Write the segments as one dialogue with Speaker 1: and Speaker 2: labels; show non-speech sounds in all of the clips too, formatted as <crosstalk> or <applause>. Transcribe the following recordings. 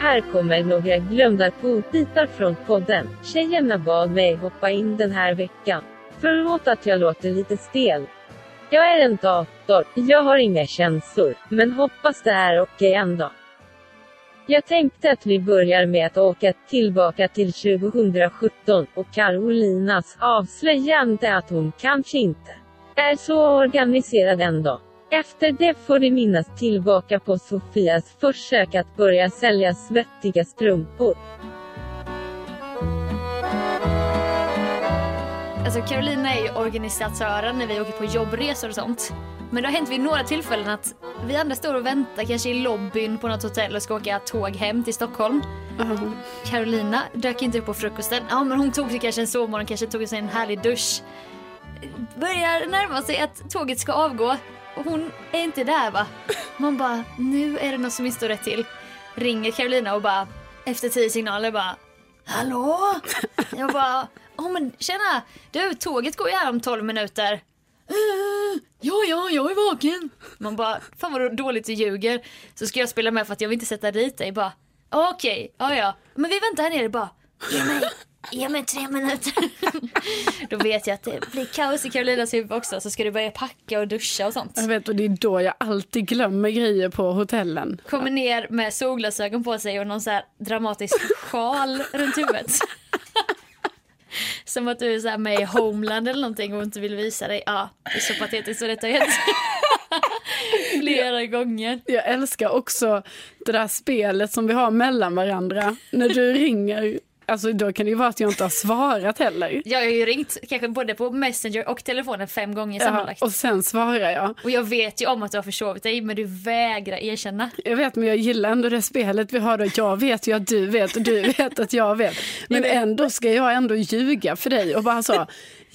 Speaker 1: Här kommer några glömda godbitar från podden. Tjejerna bad mig hoppa in den här veckan. Förlåt att jag låter lite stel. Jag är en dator, jag har inga känslor, men hoppas det är okej ändå. Jag tänkte att vi börjar med att åka tillbaka till 2017 och Carolinas avslöjande att hon kanske inte är så organiserad ändå. Efter det får du minnas tillbaka på Sofias försök att börja sälja svettiga strumpor.
Speaker 2: Alltså Carolina är ju organisatören när vi åker på jobbresor och sånt. Men det har hänt vid några tillfällen att vi andra står och väntar kanske i lobbyn på något hotell och ska åka tåg hem till Stockholm. Carolina dök inte upp på frukosten. Ja men hon tog sig kanske en sovmorgon, kanske tog sig en härlig dusch. Börjar närma sig att tåget ska avgå och hon är inte där va? Man bara, nu är det något som inte står rätt till. Ringer Carolina och bara, efter tio signaler bara, hallå? Jag bara, åh men tjena, du tåget går ju här om 12 minuter. "Eh, Ja, ja, jag är vaken. Man bara, fan vad dåligt du ljuger. Så ska jag spela med för att jag vill inte sätta dit dig. Bara, okej, ja ja. Men vi väntar här nere bara, ge mig, ge mig tre minuter. <laughs> Då vet jag att det blir kaos i Carolinas huvud också. Så ska du börja packa och duscha och sånt.
Speaker 3: Jag vet och det är då jag alltid glömmer grejer på hotellen.
Speaker 2: Kommer ner med solglasögon på sig och någon så här dramatisk sjal runt huvudet. Som att du är så här med i Homeland eller någonting och inte vill visa dig. Ja, det är så patetiskt så detta har
Speaker 3: <laughs>
Speaker 2: hänt flera gånger.
Speaker 3: Jag älskar också det där spelet som vi har mellan varandra.
Speaker 2: <laughs>
Speaker 3: När du ringer, alltså då kan det ju vara att jag inte har svarat heller.
Speaker 2: Jag har ju ringt kanske både på Messenger och telefonen fem gånger
Speaker 3: Ja,
Speaker 2: sammanlagt.
Speaker 3: och sen svarar jag.
Speaker 2: Och jag vet ju om att du har försovit dig men du vägrar erkänna.
Speaker 3: Jag vet men jag gillar ändå det spelet vi har då. Jag vet ju att du vet och du
Speaker 2: <laughs>
Speaker 3: vet att jag vet. Men ändå ska jag ändå ljuga för dig och bara så.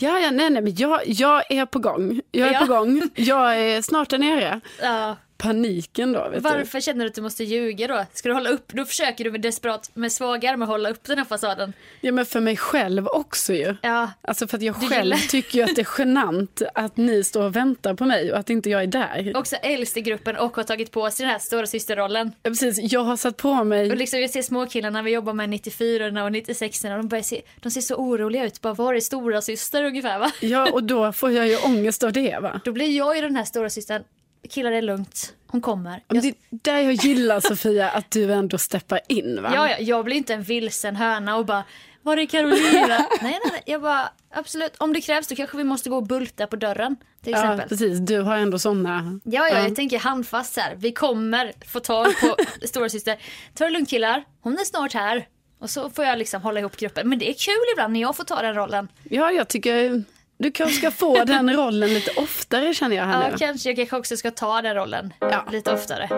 Speaker 3: Ja, ja, nej, nej, men jag, jag är på gång. Jag är
Speaker 2: Ja.
Speaker 3: på gång. Jag är snart där nere.
Speaker 2: Ja.
Speaker 3: Paniken då, vet du.
Speaker 2: Varför känner du att du måste ljuga då? Ska du hålla upp? Då försöker du med desperat med svaga armar hålla upp den här fasaden.
Speaker 3: Ja, men för mig själv också ju.
Speaker 2: Ja,
Speaker 3: Alltså för att jag
Speaker 2: Du
Speaker 3: själv
Speaker 2: gillar-
Speaker 3: tycker ju att det är genant att ni står och väntar på mig och att inte jag är där.
Speaker 2: också äldst i gruppen och har tagit på sig den här stora systerrollen.
Speaker 3: Ja, Precis, jag har satt på mig...
Speaker 2: Och liksom jag ser småkillarna vi jobbar med 94 och 96 och de, börjar se, de ser så oroliga ut. Bara var är stora syster ungefär va?
Speaker 3: Ja, och då får jag ju ångest av det va.
Speaker 2: Då blir jag ju den här stora systern. Killar det är lugnt, hon kommer.
Speaker 3: Men
Speaker 2: Jag,
Speaker 3: det är där jag gillar Sofia, att du ändå steppar in va.
Speaker 2: ja, ja, jag blir inte en vilsen höna och bara var är Carolina? nej, nej, nej, jag bara absolut om det krävs då kanske vi måste gå och bulta på dörren till
Speaker 3: ja
Speaker 2: exempel.
Speaker 3: precis. Du har ändå sådana...
Speaker 2: Ja, ja, jag tänker handfast så här. Vi kommer få tag
Speaker 3: <laughs>
Speaker 2: på storasyster. Ta det lugnt killar, hon är snart här. Och så får jag liksom hålla ihop gruppen. Men det är kul ibland när jag får ta den rollen.
Speaker 3: Ja, jag tycker du kanske ska få den rollen lite oftare känner jag här
Speaker 2: Ja,
Speaker 3: nu.
Speaker 2: kanske jag kanske också ska ta den rollen
Speaker 3: Ja.
Speaker 2: lite oftare.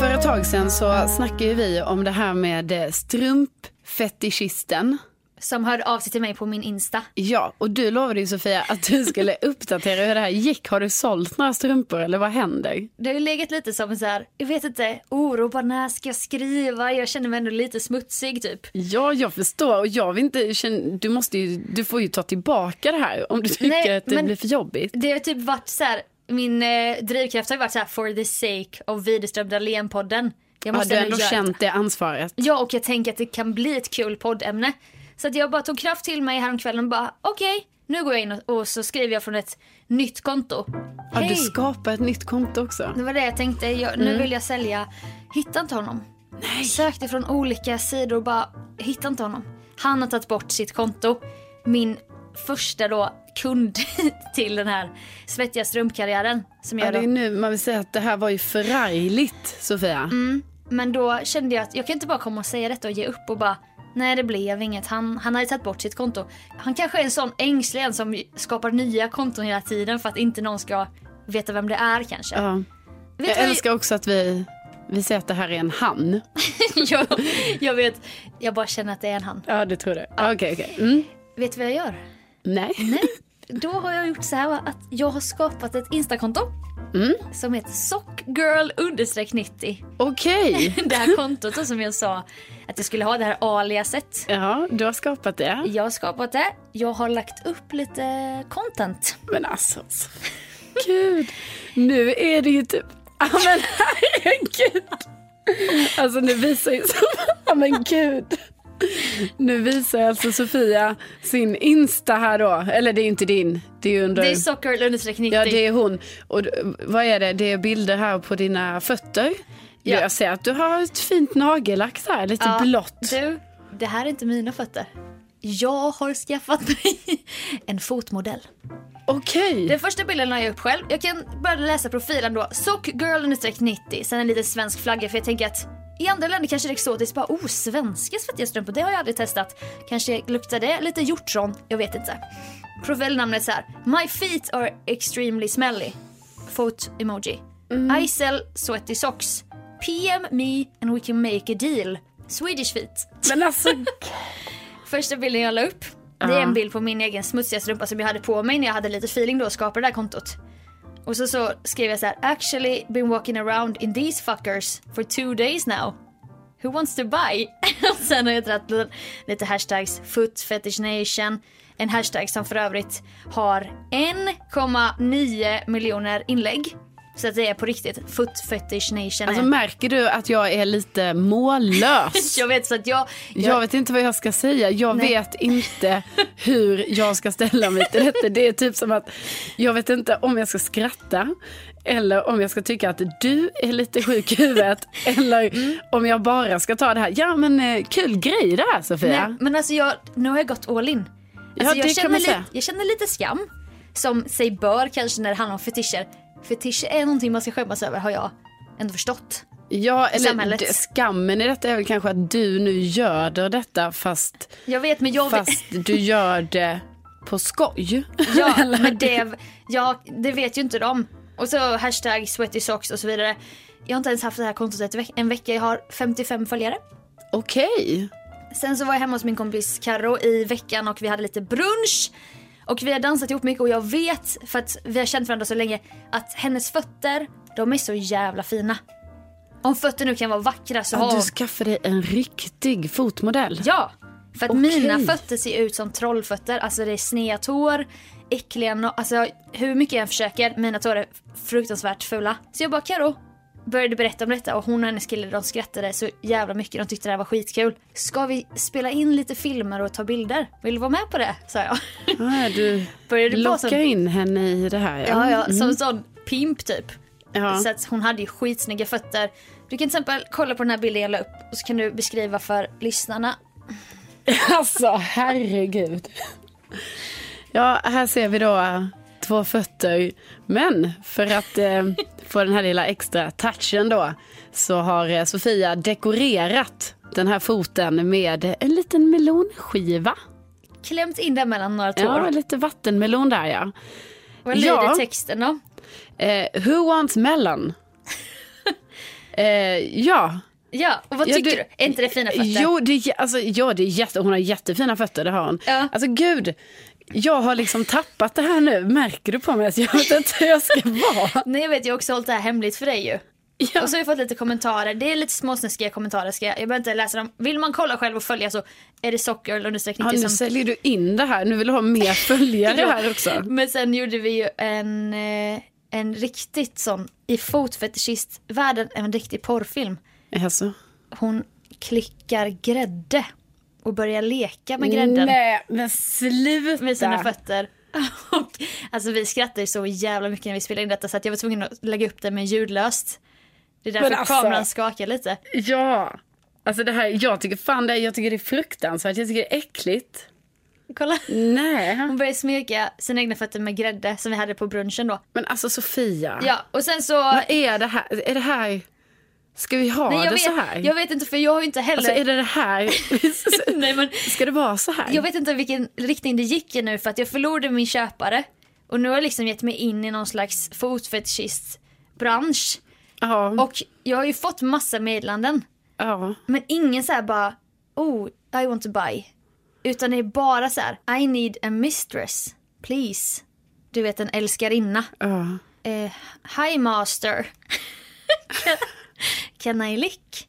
Speaker 3: För ett tag sedan så snackade ju vi om det här med eh, strumpfetischisten.
Speaker 2: Som hörde av sig till mig på min Insta.
Speaker 3: Ja, och du lovade ju Sofia att du skulle <laughs> uppdatera hur det här gick. Har du sålt några strumpor eller vad händer?
Speaker 2: Det har ju legat lite som så här, jag vet inte, oro, bara när ska jag skriva? Jag känner mig ändå lite smutsig typ.
Speaker 3: Ja, jag förstår och jag vill inte, känn- du måste ju, du får ju ta tillbaka det här om du tycker
Speaker 2: Nej,
Speaker 3: att det
Speaker 2: men-
Speaker 3: blir för jobbigt.
Speaker 2: Det har typ varit så här, min eh, drivkraft har ju varit så här, for the sake of Widerström Dahlén-podden. Jag
Speaker 3: Ja, du har ändå
Speaker 2: göra-
Speaker 3: känt det ansvaret.
Speaker 2: Ja, och jag tänker att det kan bli ett kul poddämne. Så att jag bara tog kraft till mig häromkvällen och bara okej, nu går jag in och, och så skriver jag från ett nytt konto.
Speaker 3: Ja, du Mm.
Speaker 2: Hej!
Speaker 3: skapar ett nytt konto också.
Speaker 2: Det var det jag tänkte, jag, nu vill jag sälja. Hittade inte honom. Nej. Sökte från olika sidor och bara hittade inte honom. Han har tagit bort sitt konto. Min första då kund <laughs> till den här svettiga strumpkarriären som
Speaker 3: Ja,
Speaker 2: jag
Speaker 3: det
Speaker 2: då
Speaker 3: är nu man vill säga att det här var ju förargligt, Sofia.
Speaker 2: Men då kände jag att jag kan inte bara komma och säga detta och ge upp och bara Nej det blev inget. Han, han hade tagit bort sitt konto. Han kanske är en sån ängslig en som skapar nya konton hela tiden för att inte någon ska veta vem det är kanske.
Speaker 3: Ja.
Speaker 2: Vet
Speaker 3: Jag
Speaker 2: du vad
Speaker 3: älskar också att vi, vi säger att det här är en han.
Speaker 2: jag, <laughs> jag vet, jag bara känner att det är en han.
Speaker 3: Ja, det tror du. Okej, okej. Mm.
Speaker 2: Vet du vad jag gör?
Speaker 3: Nej.
Speaker 2: Då har jag gjort så här va, att jag har skapat ett instakonto.
Speaker 3: Mm.
Speaker 2: Som heter sockgirl-90.
Speaker 3: Okej. <laughs>
Speaker 2: Det här kontot då som jag sa att jag skulle ha, det här aliaset.
Speaker 3: Ja, du har skapat det.
Speaker 2: Jag har skapat det. Jag har lagt upp lite content.
Speaker 3: Men alltså. Gud, nu är det ju typ... Ja men herregud. Alltså nu visar ju... Ja men gud. Nu visar alltså Sofia sin Insta här då. Eller det är inte din. Det är ju under...
Speaker 2: Det är socker understreck 90.
Speaker 3: Ja, det är hon. Och d- vad är det? Det är bilder här på dina fötter.
Speaker 2: Ja.
Speaker 3: Jag ser att du har ett fint nagellack här, lite
Speaker 2: Ja,
Speaker 3: blått.
Speaker 2: Du, det här är inte mina fötter. Jag har skaffat mig <laughs> en fotmodell.
Speaker 3: Okej.
Speaker 2: Den första bilden la jag upp själv. Jag kan bara läsa profilen då. Sockgirl-90, sen en liten svensk flagga för jag tänker att i andra länder kanske det är exotiskt. Bara oh, svenska svettiga strumpor, det har jag aldrig testat. Kanske luktar det lite hjortron, jag vet inte. Profilnamnet så här. My feet are extremely smelly. Fot-emoji. I sell sweaty socks. PM me and we can make a deal. Swedish feet.
Speaker 3: Men alltså,
Speaker 2: Första bilden jag la upp Det är en bild på min egen smutsiga strumpa som jag hade på mig när jag hade lite feeling då och skapade det här kontot. Och så, så skrev jag så här: Actually been walking around in these fuckers for two days now. Who wants to buy? <laughs> och sen har jag dragit lite- lite hashtags foot fetish nation. En hashtag som för övrigt har 1,9 miljoner inlägg. Så att det är på riktigt foot fetish nation. är-
Speaker 3: alltså märker du att jag är lite <laughs> mållös?
Speaker 2: jag vet så att jag,
Speaker 3: Jag vet inte vad jag ska säga. Jag
Speaker 2: Nej.
Speaker 3: vet inte hur jag ska ställa mig till detta. Det är typ som att jag vet inte om jag ska skratta eller om jag ska tycka att du är lite sjuk i huvudet eller om jag bara ska ta det här. Ja men eh, kul grej det här Sofia.
Speaker 2: Nej, men alltså jag, nu har jag gått all in.
Speaker 3: Ja,
Speaker 2: Alltså
Speaker 3: det
Speaker 2: jag,
Speaker 3: kan
Speaker 2: känner
Speaker 3: man
Speaker 2: lite,
Speaker 3: säga.
Speaker 2: jag känner lite skam, som sig bör kanske när det handlar om fetischer. Fetischer är någonting man ska skämmas över har jag ändå förstått.
Speaker 3: Ja, eller
Speaker 2: samhället.
Speaker 3: d- skammen i detta är väl kanske att du nu gör det detta fast,
Speaker 2: Jag vet men jag vet,
Speaker 3: fast du gör det på skoj. <laughs>
Speaker 2: ja, men det, ja, det vet ju inte de. Och så hashtag sweaty socks och så vidare. Jag har inte ens haft det här kontot ett veck- en vecka, jag har 55 följare.
Speaker 3: Okej.
Speaker 2: Sen så var jag hemma hos min kompis Karo i veckan och vi hade lite brunch. Och vi har dansat ihop mycket och jag vet, för att vi har känt varandra så länge, att hennes fötter, de är så jävla fina. Om fötter nu kan vara vackra så har
Speaker 3: Ja,
Speaker 2: hon...
Speaker 3: du skaffade dig en riktig fotmodell.
Speaker 2: Ja! För att
Speaker 3: Okej.
Speaker 2: mina fötter ser ut som trollfötter. Alltså det är sneda tår, äckliga no- Alltså hur mycket jag än försöker, mina tår är fruktansvärt fula. Så jag bara Karo började berätta om detta och hon och hennes kille de skrattade så jävla mycket. De tyckte det här var skitkul. Ska vi spela in lite filmer och ta bilder? Vill du vara med på det? sa jag. <laughs>
Speaker 3: Ja, Ah, du
Speaker 2: Började på som,
Speaker 3: lockar in henne i det här.
Speaker 2: ja, ja, som en sån pimp typ.
Speaker 3: Ja.
Speaker 2: Så att hon hade ju skitsnygga fötter. Du kan till exempel kolla på den här bilden jag la upp och så kan du beskriva för lyssnarna
Speaker 3: <laughs> Alltså herregud. Ja, här ser vi då eh, två fötter. Men för att eh, få den här lilla extra touchen då så har eh, Sofia dekorerat den här foten med en liten melonskiva.
Speaker 2: klämt in den mellan några tår.
Speaker 3: Ja, lite vattenmelon där ja.
Speaker 2: Vad lyder
Speaker 3: Ja.
Speaker 2: texten då?
Speaker 3: Eh, who wants <laughs> melon? Eh, ja,
Speaker 2: Ja, och vad
Speaker 3: Ja,
Speaker 2: tycker
Speaker 3: du-
Speaker 2: du? Är inte det fina fötter?
Speaker 3: Jo, det, är jä- alltså, ja, det är jätte, hon har jättefina fötter, det har hon.
Speaker 2: Ja.
Speaker 3: Alltså gud, jag har liksom tappat det här nu. Märker du på mig att jag vet inte hur jag ska
Speaker 2: <laughs>
Speaker 3: vara?
Speaker 2: Nej jag vet, jag har också hållit det här hemligt för dig ju.
Speaker 3: Ja.
Speaker 2: Och så har jag fått lite kommentarer, det är lite småsnuskiga kommentarer ska jag, jag behöver inte läsa dem. Vill man kolla själv och följa så är det Sockgirl understreck
Speaker 3: Ja,
Speaker 2: 90
Speaker 3: nu
Speaker 2: som...
Speaker 3: säljer du in det här, nu vill du ha
Speaker 2: <laughs>
Speaker 3: mer följare här också.
Speaker 2: Men sen gjorde vi ju en, eh, en riktigt sån, i fotfetishistvärlden, en riktig porrfilm.
Speaker 3: Alltså.
Speaker 2: Hon klickar grädde och börjar leka med grädden.
Speaker 3: Nej, men sluta.
Speaker 2: med sina fötter. <laughs> Och, alltså vi skrattar ju så jävla mycket när vi spelar in detta så att jag var tvungen att lägga upp det med ljudlöst. Det är därför
Speaker 3: Men alltså-
Speaker 2: kameran skakar lite.
Speaker 3: Ja. Alltså det här, jag tycker fan det, jag tycker det är fruktansvärt, jag tycker det är äckligt.
Speaker 2: Kolla.
Speaker 3: Nej.
Speaker 2: Hon började smeka sina egna fötter med grädde som vi hade på brunchen då.
Speaker 3: Men alltså Sofia,
Speaker 2: Ja och sen så.
Speaker 3: vad är det här? Är det här, ska vi ha
Speaker 2: Nej, jag,
Speaker 3: det
Speaker 2: vet,
Speaker 3: så här?
Speaker 2: jag vet inte för jag har ju inte heller.
Speaker 3: Alltså är det det här?
Speaker 2: <laughs> Nej, men,
Speaker 3: Ska det vara så här?
Speaker 2: jag vet inte vilken riktning det gick i nu för att jag förlorade min köpare. Och nu har jag liksom gett mig in i någon slags fotfetischistbransch.
Speaker 3: ja.
Speaker 2: Och jag har ju fått massa meddelanden.
Speaker 3: ja.
Speaker 2: Men ingen så här bara, oh, I want to buy. Utan det är bara så här, I need a mistress, please. Du vet en älskarinna.
Speaker 3: ja.
Speaker 2: Eh, hi master. <laughs> Can I lick?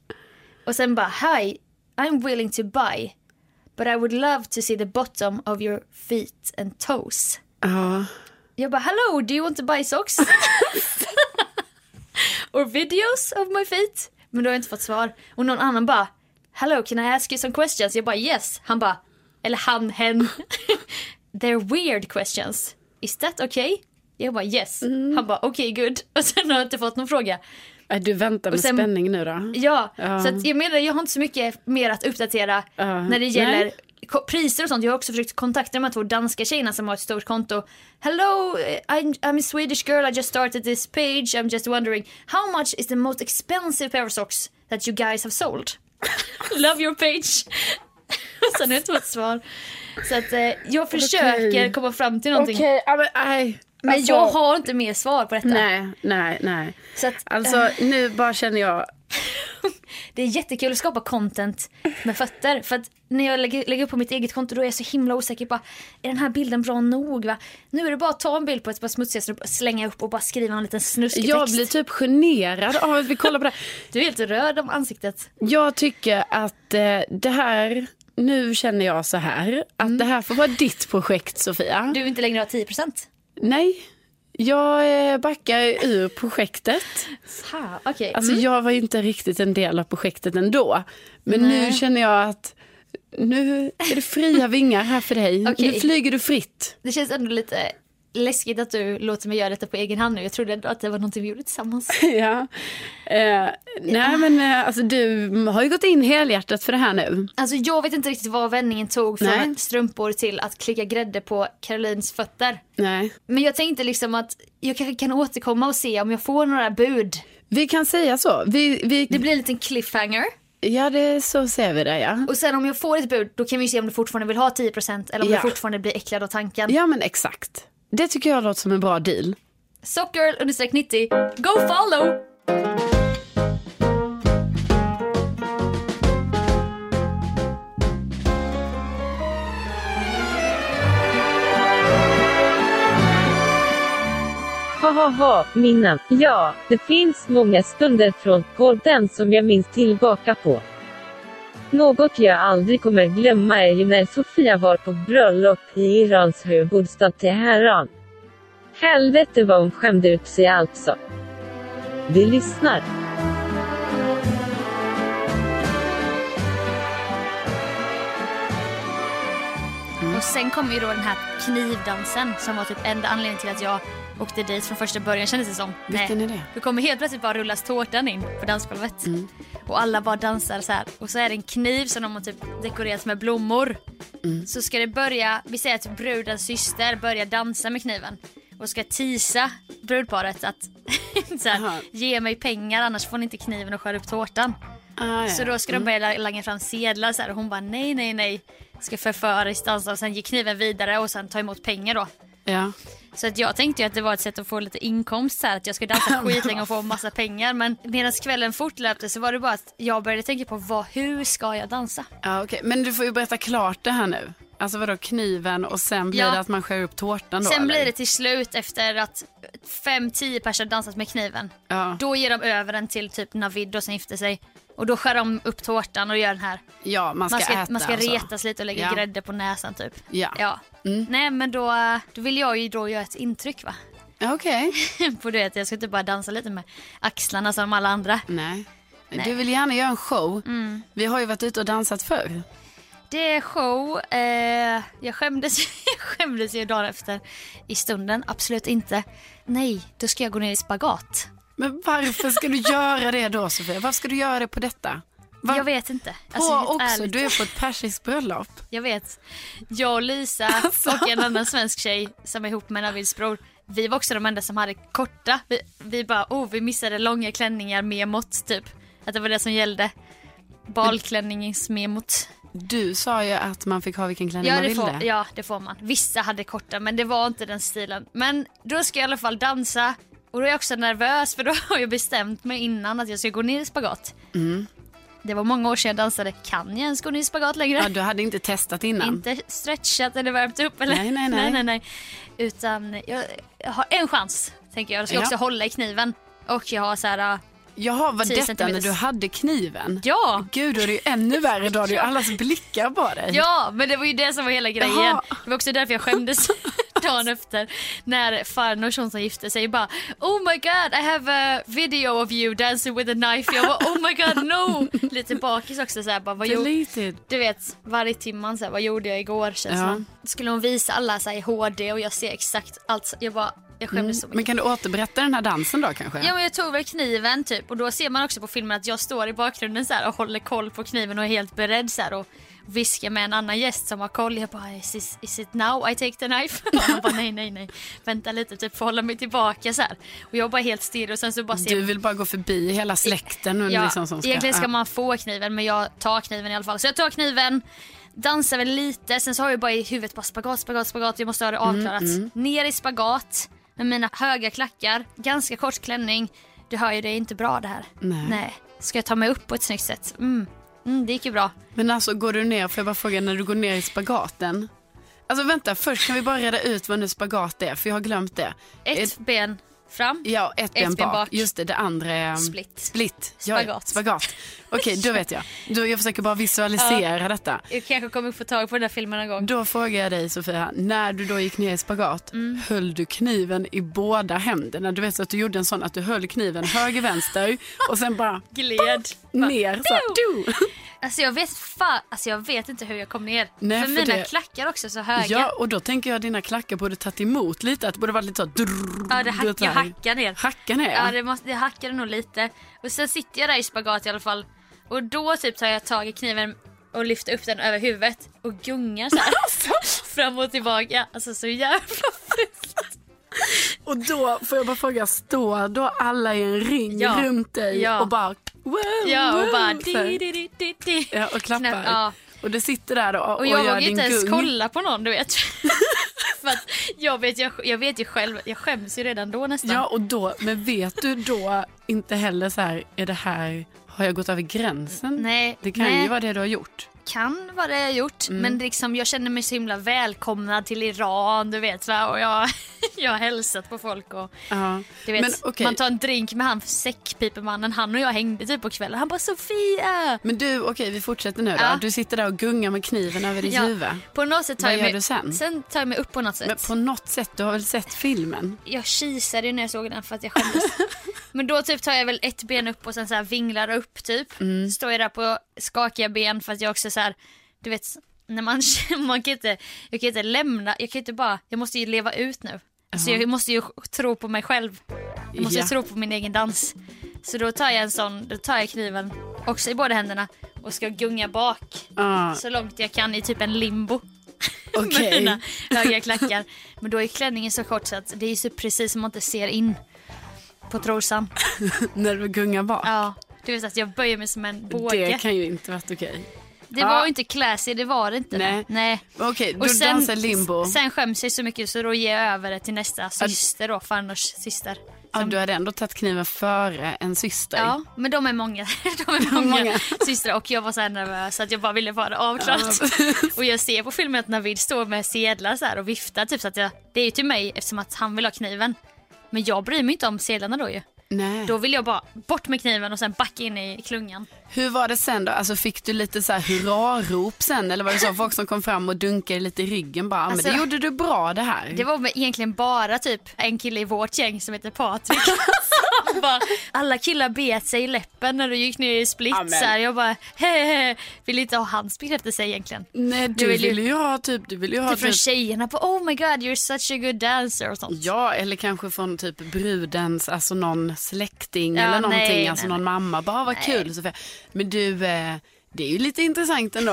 Speaker 2: Och sen bara, hi, I'm willing to buy. But I would love to see the bottom of your feet and toes.
Speaker 3: ja.
Speaker 2: Jag bara hello, do you want to buy socks? Or videos of my feet? Men då har jag inte fått svar. Och någon annan bara hello, can I ask you some questions? Jag bara yes. Han bara, eller han, hen. <laughs> They're weird questions. Is that okay? Jag bara yes. Han bara okej, okay, good. <laughs> Och sen har jag inte fått någon fråga.
Speaker 3: Äh, Du väntar med
Speaker 2: Och sen-
Speaker 3: spänning nu då?
Speaker 2: Ja,
Speaker 3: Ja.
Speaker 2: så att jag menar jag har inte så mycket mer att uppdatera
Speaker 3: Ja.
Speaker 2: när det gäller
Speaker 3: Nej.
Speaker 2: ko- priser och sånt. Jag har också försökt kontakta de här två danska tjejerna som har ett stort konto. Hello, eh, I'm, I'm a Swedish girl, I just started this page, I'm just wondering how much is the most expensive pair of socks that you guys have sold? <laughs> Love your page. <laughs> Och Sen har jag inte fått svar. Så att eh, jag försöker
Speaker 3: Okej.
Speaker 2: komma fram till någonting.
Speaker 3: Okej, ja, men nej.
Speaker 2: Men
Speaker 3: Alltså,
Speaker 2: jag har inte mer svar på detta.
Speaker 3: Nej, nej, nej.
Speaker 2: Så att,
Speaker 3: Alltså
Speaker 2: Äh.
Speaker 3: nu bara känner jag,
Speaker 2: Det är jättekul att skapa content med fötter. För att när jag lägger, lägger upp på mitt eget konto då är jag så himla osäker. Bara, är den här bilden bra nog? Va? Nu är det bara att ta en bild på ett par smutsiga strumpor, slänga upp och bara skriva en liten snuskig
Speaker 3: jag
Speaker 2: text.
Speaker 3: blir typ generad av att vi kollar på det här.
Speaker 2: Du är helt röd om ansiktet.
Speaker 3: Jag tycker att eh, det här, nu känner jag så här, att det här får vara ditt projekt Sofia.
Speaker 2: Mm. Du vill inte längre ha 10%.
Speaker 3: Nej, jag eh, backar ur projektet.
Speaker 2: Ha, okej. Mm.
Speaker 3: Alltså jag var ju inte riktigt en del av projektet ändå. Men nu känner jag att nu är det fria vingar här
Speaker 2: <laughs>
Speaker 3: för dig.
Speaker 2: Okej.
Speaker 3: Nu flyger
Speaker 2: <laughs>
Speaker 3: du fritt.
Speaker 2: Det känns ändå lite läskigt att du låter mig göra detta på egen hand nu. Jag trodde ändå att det var någonting vi gjorde <laughs> tillsammans.
Speaker 3: Ja. Eh, nej men eh, alltså du har ju gått in helhjärtat för det här nu.
Speaker 2: Alltså jag vet inte riktigt vad vändningen tog från
Speaker 3: Nej.
Speaker 2: strumpor till att klicka grädde på Carolines fötter.
Speaker 3: Nej.
Speaker 2: Men jag tänkte liksom att jag kanske kan återkomma och se om jag får några bud.
Speaker 3: Vi kan säga så. Vi, vi,
Speaker 2: Det blir en liten cliffhanger.
Speaker 3: Ja det, så ser vi det ja.
Speaker 2: Och sen om jag får ett bud då kan vi se om du fortfarande vill ha 10% eller om
Speaker 3: Ja.
Speaker 2: du fortfarande blir äcklad av tanken.
Speaker 3: Ja men exakt. Det tycker jag låter som en bra deal.
Speaker 2: Sockgirl 90, go follow!
Speaker 1: Hahaha, minnen. Ja, det finns många stunder från podden som jag minns tillbaka på. Något jag aldrig kommer glömma är ju när Sofia var på bröllop i Irans huvudstad Teheran. Helvete vad hon skämde ut sig alltså. Vi lyssnar.
Speaker 2: Och sen kom ju då den här knivdansen som var typ enda anledningen till att jag åkte dit från första början kändes det som.
Speaker 3: Vilken är det?
Speaker 2: Du kommer helt plötsligt bara rullas tårtan in på dansgolvet.
Speaker 3: Mm.
Speaker 2: Och alla bara dansar så här. Och så är det en kniv som de har typ dekorerat med blommor.
Speaker 3: Mm.
Speaker 2: Så ska det börja, vi säger att brudens syster börjar dansa med kniven. Och ska tisa brudparet att <laughs> så
Speaker 3: Aha.
Speaker 2: här, ge mig pengar annars får ni inte kniven och skär upp tårtan.
Speaker 3: Ah, ja.
Speaker 2: Så då ska de börja la- langa fram sedlar så här, och hon bara nej nej nej. Ska förföriskt dansa och sen ge kniven vidare och sen ta emot pengar då.
Speaker 3: ja.
Speaker 2: Så att jag tänkte ju att det var ett sätt att få lite inkomst så här, att jag skulle
Speaker 3: <laughs>
Speaker 2: dansa skitlänge och få massa pengar men medan kvällen fortlöpte så var det bara att jag började tänka på vad, hur ska jag dansa?
Speaker 3: Ja, okej. Men du får ju berätta klart det här nu. Alltså vadå kniven och sen blir
Speaker 2: Ja.
Speaker 3: det att man skär upp tårtan då?
Speaker 2: Sen
Speaker 3: eller?
Speaker 2: blir det till slut efter att 5-10 personer dansat med kniven.
Speaker 3: Ja.
Speaker 2: Då ger de över den till typ Navid och som gifter sig. Och då skär de upp tårtan och gör den här.
Speaker 3: Ja, man ska,
Speaker 2: Man ska,
Speaker 3: äta
Speaker 2: man ska
Speaker 3: alltså.
Speaker 2: retas lite och lägga
Speaker 3: Ja.
Speaker 2: grädde på näsan typ.
Speaker 3: Ja. Mm.
Speaker 2: ja. Nej men då, då vill jag ju då göra ett intryck va. <laughs>
Speaker 3: Ja, Okej.
Speaker 2: på det att jag ska inte bara dansa lite med axlarna som alla andra.
Speaker 3: Nej. Du vill gärna göra en show.
Speaker 2: Mm.
Speaker 3: Vi har ju varit ute och dansat förr.
Speaker 2: Det är show. Eh, jag, skämdes, <laughs> jag skämdes ju dagen efter. I stunden, absolut inte. Nej, då ska jag gå ner i spagat.
Speaker 3: Men varför ska du göra det då Sofia? Varför ska du göra det på detta? Var...
Speaker 2: Jag vet inte. Alltså,
Speaker 3: på
Speaker 2: helt
Speaker 3: också,
Speaker 2: ärligt.
Speaker 3: du är på ett persiskt bröllop.
Speaker 2: Jag vet. Jag och
Speaker 3: <laughs>
Speaker 2: Lisa
Speaker 3: Alltså.
Speaker 2: och en annan svensk tjej som är ihop med Navids bror. Vi var också de enda som hade korta. Vi, vi bara, oh vi missade långa klänningar med mått typ. Att det var det som gällde. Balklänningsmemot.
Speaker 3: Du sa ju att man fick ha vilken klänning
Speaker 2: Ja
Speaker 3: man
Speaker 2: det,
Speaker 3: ville.
Speaker 2: får, ja det får man. Vissa hade korta men det var inte den stilen. Men då ska jag i alla fall dansa. Och då är jag också nervös för då har jag bestämt mig innan att jag ska gå ner i spagat.
Speaker 3: Mm.
Speaker 2: Det var många år sedan jag dansade. Kan jag ens gå ner i spagat längre?
Speaker 3: Ja, du hade inte testat innan.
Speaker 2: Inte stretchat eller värmt upp eller?
Speaker 3: Nej, nej,
Speaker 2: <laughs>
Speaker 3: nej.
Speaker 2: nej, Utan jag, jag har en chans tänker jag. Då ska jag
Speaker 3: Ja.
Speaker 2: också hålla i kniven. Och jag har så här, äh,
Speaker 3: Jaha, var
Speaker 2: 10
Speaker 3: detta när
Speaker 2: centimeters.
Speaker 3: du hade kniven?
Speaker 2: ja,
Speaker 3: Gud, då är det ju ännu värre. Då har du ju allas blickar på dig. <laughs>
Speaker 2: ja, men det var ju det som var hela grejen.
Speaker 3: Jaha. <laughs>
Speaker 2: Det var också därför jag skämdes. dagen efter när farnor Jonsson gifte sig bara Oh my god I have a video of you dancing with a knife. Jag bara oh my god
Speaker 3: <laughs>
Speaker 2: no. Lite bakis också så här, bara, vad gjorde
Speaker 3: Deleted.
Speaker 2: du vet varje timman så här, vad gjorde jag igår känns
Speaker 3: Ja.
Speaker 2: ja. Skulle hon visa alla så här, i HD och jag ser exakt allt. Jag bara jag skämdes så mycket.
Speaker 3: Men kan du återberätta den här dansen då kanske?
Speaker 2: Ja men jag tog väl kniven typ och då ser man också på filmen att jag står i bakgrunden så här och håller koll på kniven och är helt beredd så här och viskar med en annan gäst som har koll. Jag bara is, this, is it now I take the knife? <laughs> Och han bara nej nej nej vänta lite typ får hålla mig tillbaka så här. Och jag bara helt stirrig och sen så bara ser
Speaker 3: Du vill bara gå förbi hela släkten. Och
Speaker 2: Typ. Ja,
Speaker 3: liksom som ska,
Speaker 2: egentligen ska
Speaker 3: ja.
Speaker 2: man få kniven men jag tar kniven i alla fall. Så jag tar kniven, dansar väl lite, sen så har jag bara i huvudet bara spagat, spagat, spagat. Jag måste ha det
Speaker 3: Mm,
Speaker 2: avklarat. Ner i spagat med mina höga klackar, ganska kort klänning. Du hör ju, det är inte bra det här.
Speaker 3: Nej.
Speaker 2: Ska jag ta mig upp på ett snyggt sätt? Mm. Mm, det gick ju bra.
Speaker 3: Men alltså går du ner, får jag bara fråga, när du går ner i spagaten. Alltså vänta, först kan vi bara reda ut vad nu spagat är, för jag har glömt det.
Speaker 2: Ett, ben fram.
Speaker 3: ja, ett, ben, bak.
Speaker 2: bak.
Speaker 3: Just det, det andra är...
Speaker 2: Split.
Speaker 3: Split. Ja,
Speaker 2: Spagat.
Speaker 3: spagat. Okej, då vet jag. Då, jag försöker bara visualisera detta.
Speaker 2: Jag kanske kommer få tag på den där filmen någon gång.
Speaker 3: Då frågar jag dig Sofia, när du då gick ner i spagat,
Speaker 2: Mm.
Speaker 3: höll du kniven i båda händerna? Du vet så att du gjorde en sån att du höll kniven höger, vänster och sen bara
Speaker 2: Gled.
Speaker 3: ner. Så här, du.
Speaker 2: Alltså jag vet fa- alltså jag vet inte hur jag kom ner.
Speaker 3: Nej,
Speaker 2: för,
Speaker 3: för
Speaker 2: mina
Speaker 3: det-
Speaker 2: klackar också så höga.
Speaker 3: Ja, och då tänker jag att dina klackar borde tagit emot lite, att det borde varit lite så här, drrrr,
Speaker 2: Ja, det hack,
Speaker 3: vet
Speaker 2: jag
Speaker 3: så här.
Speaker 2: hackar ner.
Speaker 3: Hacka ner?
Speaker 2: Ja, det, måste, det hackade nog lite. Och sen sitter jag där i spagat i alla fall. Och då typ tar jag tag i kniven och lyfter upp den över huvudet och gungar så <laughs> här. fram och tillbaka. Alltså så jävla
Speaker 3: Och då får jag bara fråga, står då alla i en ring
Speaker 2: Ja.
Speaker 3: runt dig
Speaker 2: Ja.
Speaker 3: och bara wow,
Speaker 2: Ja och
Speaker 3: wow,
Speaker 2: bara
Speaker 3: så här.
Speaker 2: di, di, di, di, di.
Speaker 3: Ja, och klappar.
Speaker 2: Knä- ja.
Speaker 3: Och du sitter där då, och,
Speaker 2: Och jag
Speaker 3: gör
Speaker 2: vågar
Speaker 3: din
Speaker 2: inte ens
Speaker 3: gung.
Speaker 2: kolla på någon du <laughs> vet. För att jag vet, jag, jag vet ju själv, jag skäms ju redan då nästan.
Speaker 3: Ja, och då, men vet du då inte heller så här, är det här, har jag gått över gränsen?
Speaker 2: Nej,
Speaker 3: Det kan
Speaker 2: nej.
Speaker 3: ju vara det du har gjort.
Speaker 2: kan vad det har gjort men liksom, jag känner mig så himla välkomnad till Iran du vet va? och jag, <laughs> jag har hälsat på folk och
Speaker 3: Ja.
Speaker 2: du vet,
Speaker 3: men okej,
Speaker 2: man tar en drink med han säckpipemannen, han och jag hängde typ på kvällen han bara Sofia!
Speaker 3: men du, okej vi fortsätter nu då.
Speaker 2: Ja.
Speaker 3: Du sitter där och gungar med kniven över ditt
Speaker 2: Ja,
Speaker 3: huvud.
Speaker 2: på något sätt tar
Speaker 3: Vad
Speaker 2: jag
Speaker 3: gör
Speaker 2: mig,
Speaker 3: du sen?
Speaker 2: tar jag mig upp på något sätt.
Speaker 3: Men på något sätt, du har väl sett filmen?
Speaker 2: <laughs> Jag kisade ju när jag såg den för att jag
Speaker 3: <laughs>
Speaker 2: skämdes. men då typ tar jag väl ett ben upp och sen så här vinglar upp typ.
Speaker 3: Mm.
Speaker 2: Står jag där på skakiga ben för att jag också så här, du vet, när man, <laughs> man kan inte, jag kan inte lämna, jag kan inte bara, jag måste ju leva ut nu. Alltså jag måste ju tro på mig själv. Jag måste
Speaker 3: Ja.
Speaker 2: ju tro på min egen dans. Så då tar jag en sån, då tar jag kniven också i båda händerna och ska gunga bak
Speaker 3: Ja,
Speaker 2: så långt jag kan i typ en limbo med
Speaker 3: okej.
Speaker 2: mina höga klackar. Men då är klänningen så kort så att det är ju så precis som man inte ser in på trosan.
Speaker 3: När du gungar bak.
Speaker 2: Ja, du vet att jag böjer mig som en båge.
Speaker 3: Det
Speaker 2: Det,
Speaker 3: kan ju inte varit okej.
Speaker 2: var
Speaker 3: Ja.
Speaker 2: ju inte classy, det var det inte.
Speaker 3: Nej. Okej, du dansar limbo.
Speaker 2: sen skäms jag så mycket så då ger jag över det till nästa syster då, farnors syster.
Speaker 3: ja, du hade ändå tagit kniven före en syster.
Speaker 2: Ja, men de är många, <laughs> de är många,
Speaker 3: många.
Speaker 2: systrar och jag var så här nervös så att jag bara ville få det avklarat. Och jag ser på filmen att Navid står med sedlar så här och viftar typ så att jag, det är ju till mig eftersom att han vill ha kniven. Men jag bryr mig inte om sedlarna då ju.
Speaker 3: Nej.
Speaker 2: Då vill jag bara bort med kniven och sen backa in i klungan.
Speaker 3: Hur var det sen då? Alltså, fick du lite så här hurrarop sen? Eller var det så folk som kom fram och dunkade lite i ryggen bara, "Ah,
Speaker 2: Alltså,
Speaker 3: men det gjorde du bra det här.
Speaker 2: Det var väl egentligen bara typ en kille i vårt gäng som heter Patrik. <laughs> Som bara, alla killar bet sig i läppen när du gick ner i split
Speaker 3: Amen.
Speaker 2: så här. Jag bara hehehe, vill inte ha hans bekräftelse egentligen.
Speaker 3: Nej, du
Speaker 2: vill
Speaker 3: ville
Speaker 2: ju-
Speaker 3: ju... ha typ, du ville ju ha
Speaker 2: Typ från
Speaker 3: typ,
Speaker 2: tjejerna på oh my god you're such a good dancer och sånt.
Speaker 3: ja eller kanske från typ brudens, alltså någon släkting
Speaker 2: Ja,
Speaker 3: eller någonting,
Speaker 2: nej,
Speaker 3: alltså
Speaker 2: nej,
Speaker 3: någon mamma. Bara vad kul Sofia. Men du, eh, det är ju lite
Speaker 2: <laughs>
Speaker 3: intressant ändå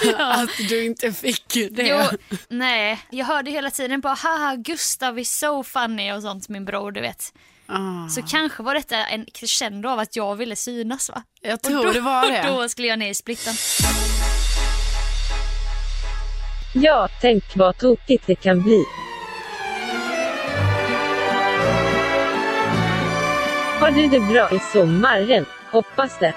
Speaker 3: <laughs> att du inte fick ju det.
Speaker 2: Jo, <laughs> nej. Jag hörde hela tiden bara haha Gustav is so funny och sånt min bror du vet.
Speaker 3: Ah,
Speaker 2: Så kanske var detta en crescendo av att jag ville synas va?
Speaker 3: jag
Speaker 2: Och
Speaker 3: tror
Speaker 2: då,
Speaker 3: det var det.
Speaker 2: och <laughs> Då skulle jag ner i splitten.
Speaker 1: Ja, tänk vad tokigt det kan bli. Har du det bra i sommaren? Hoppas det.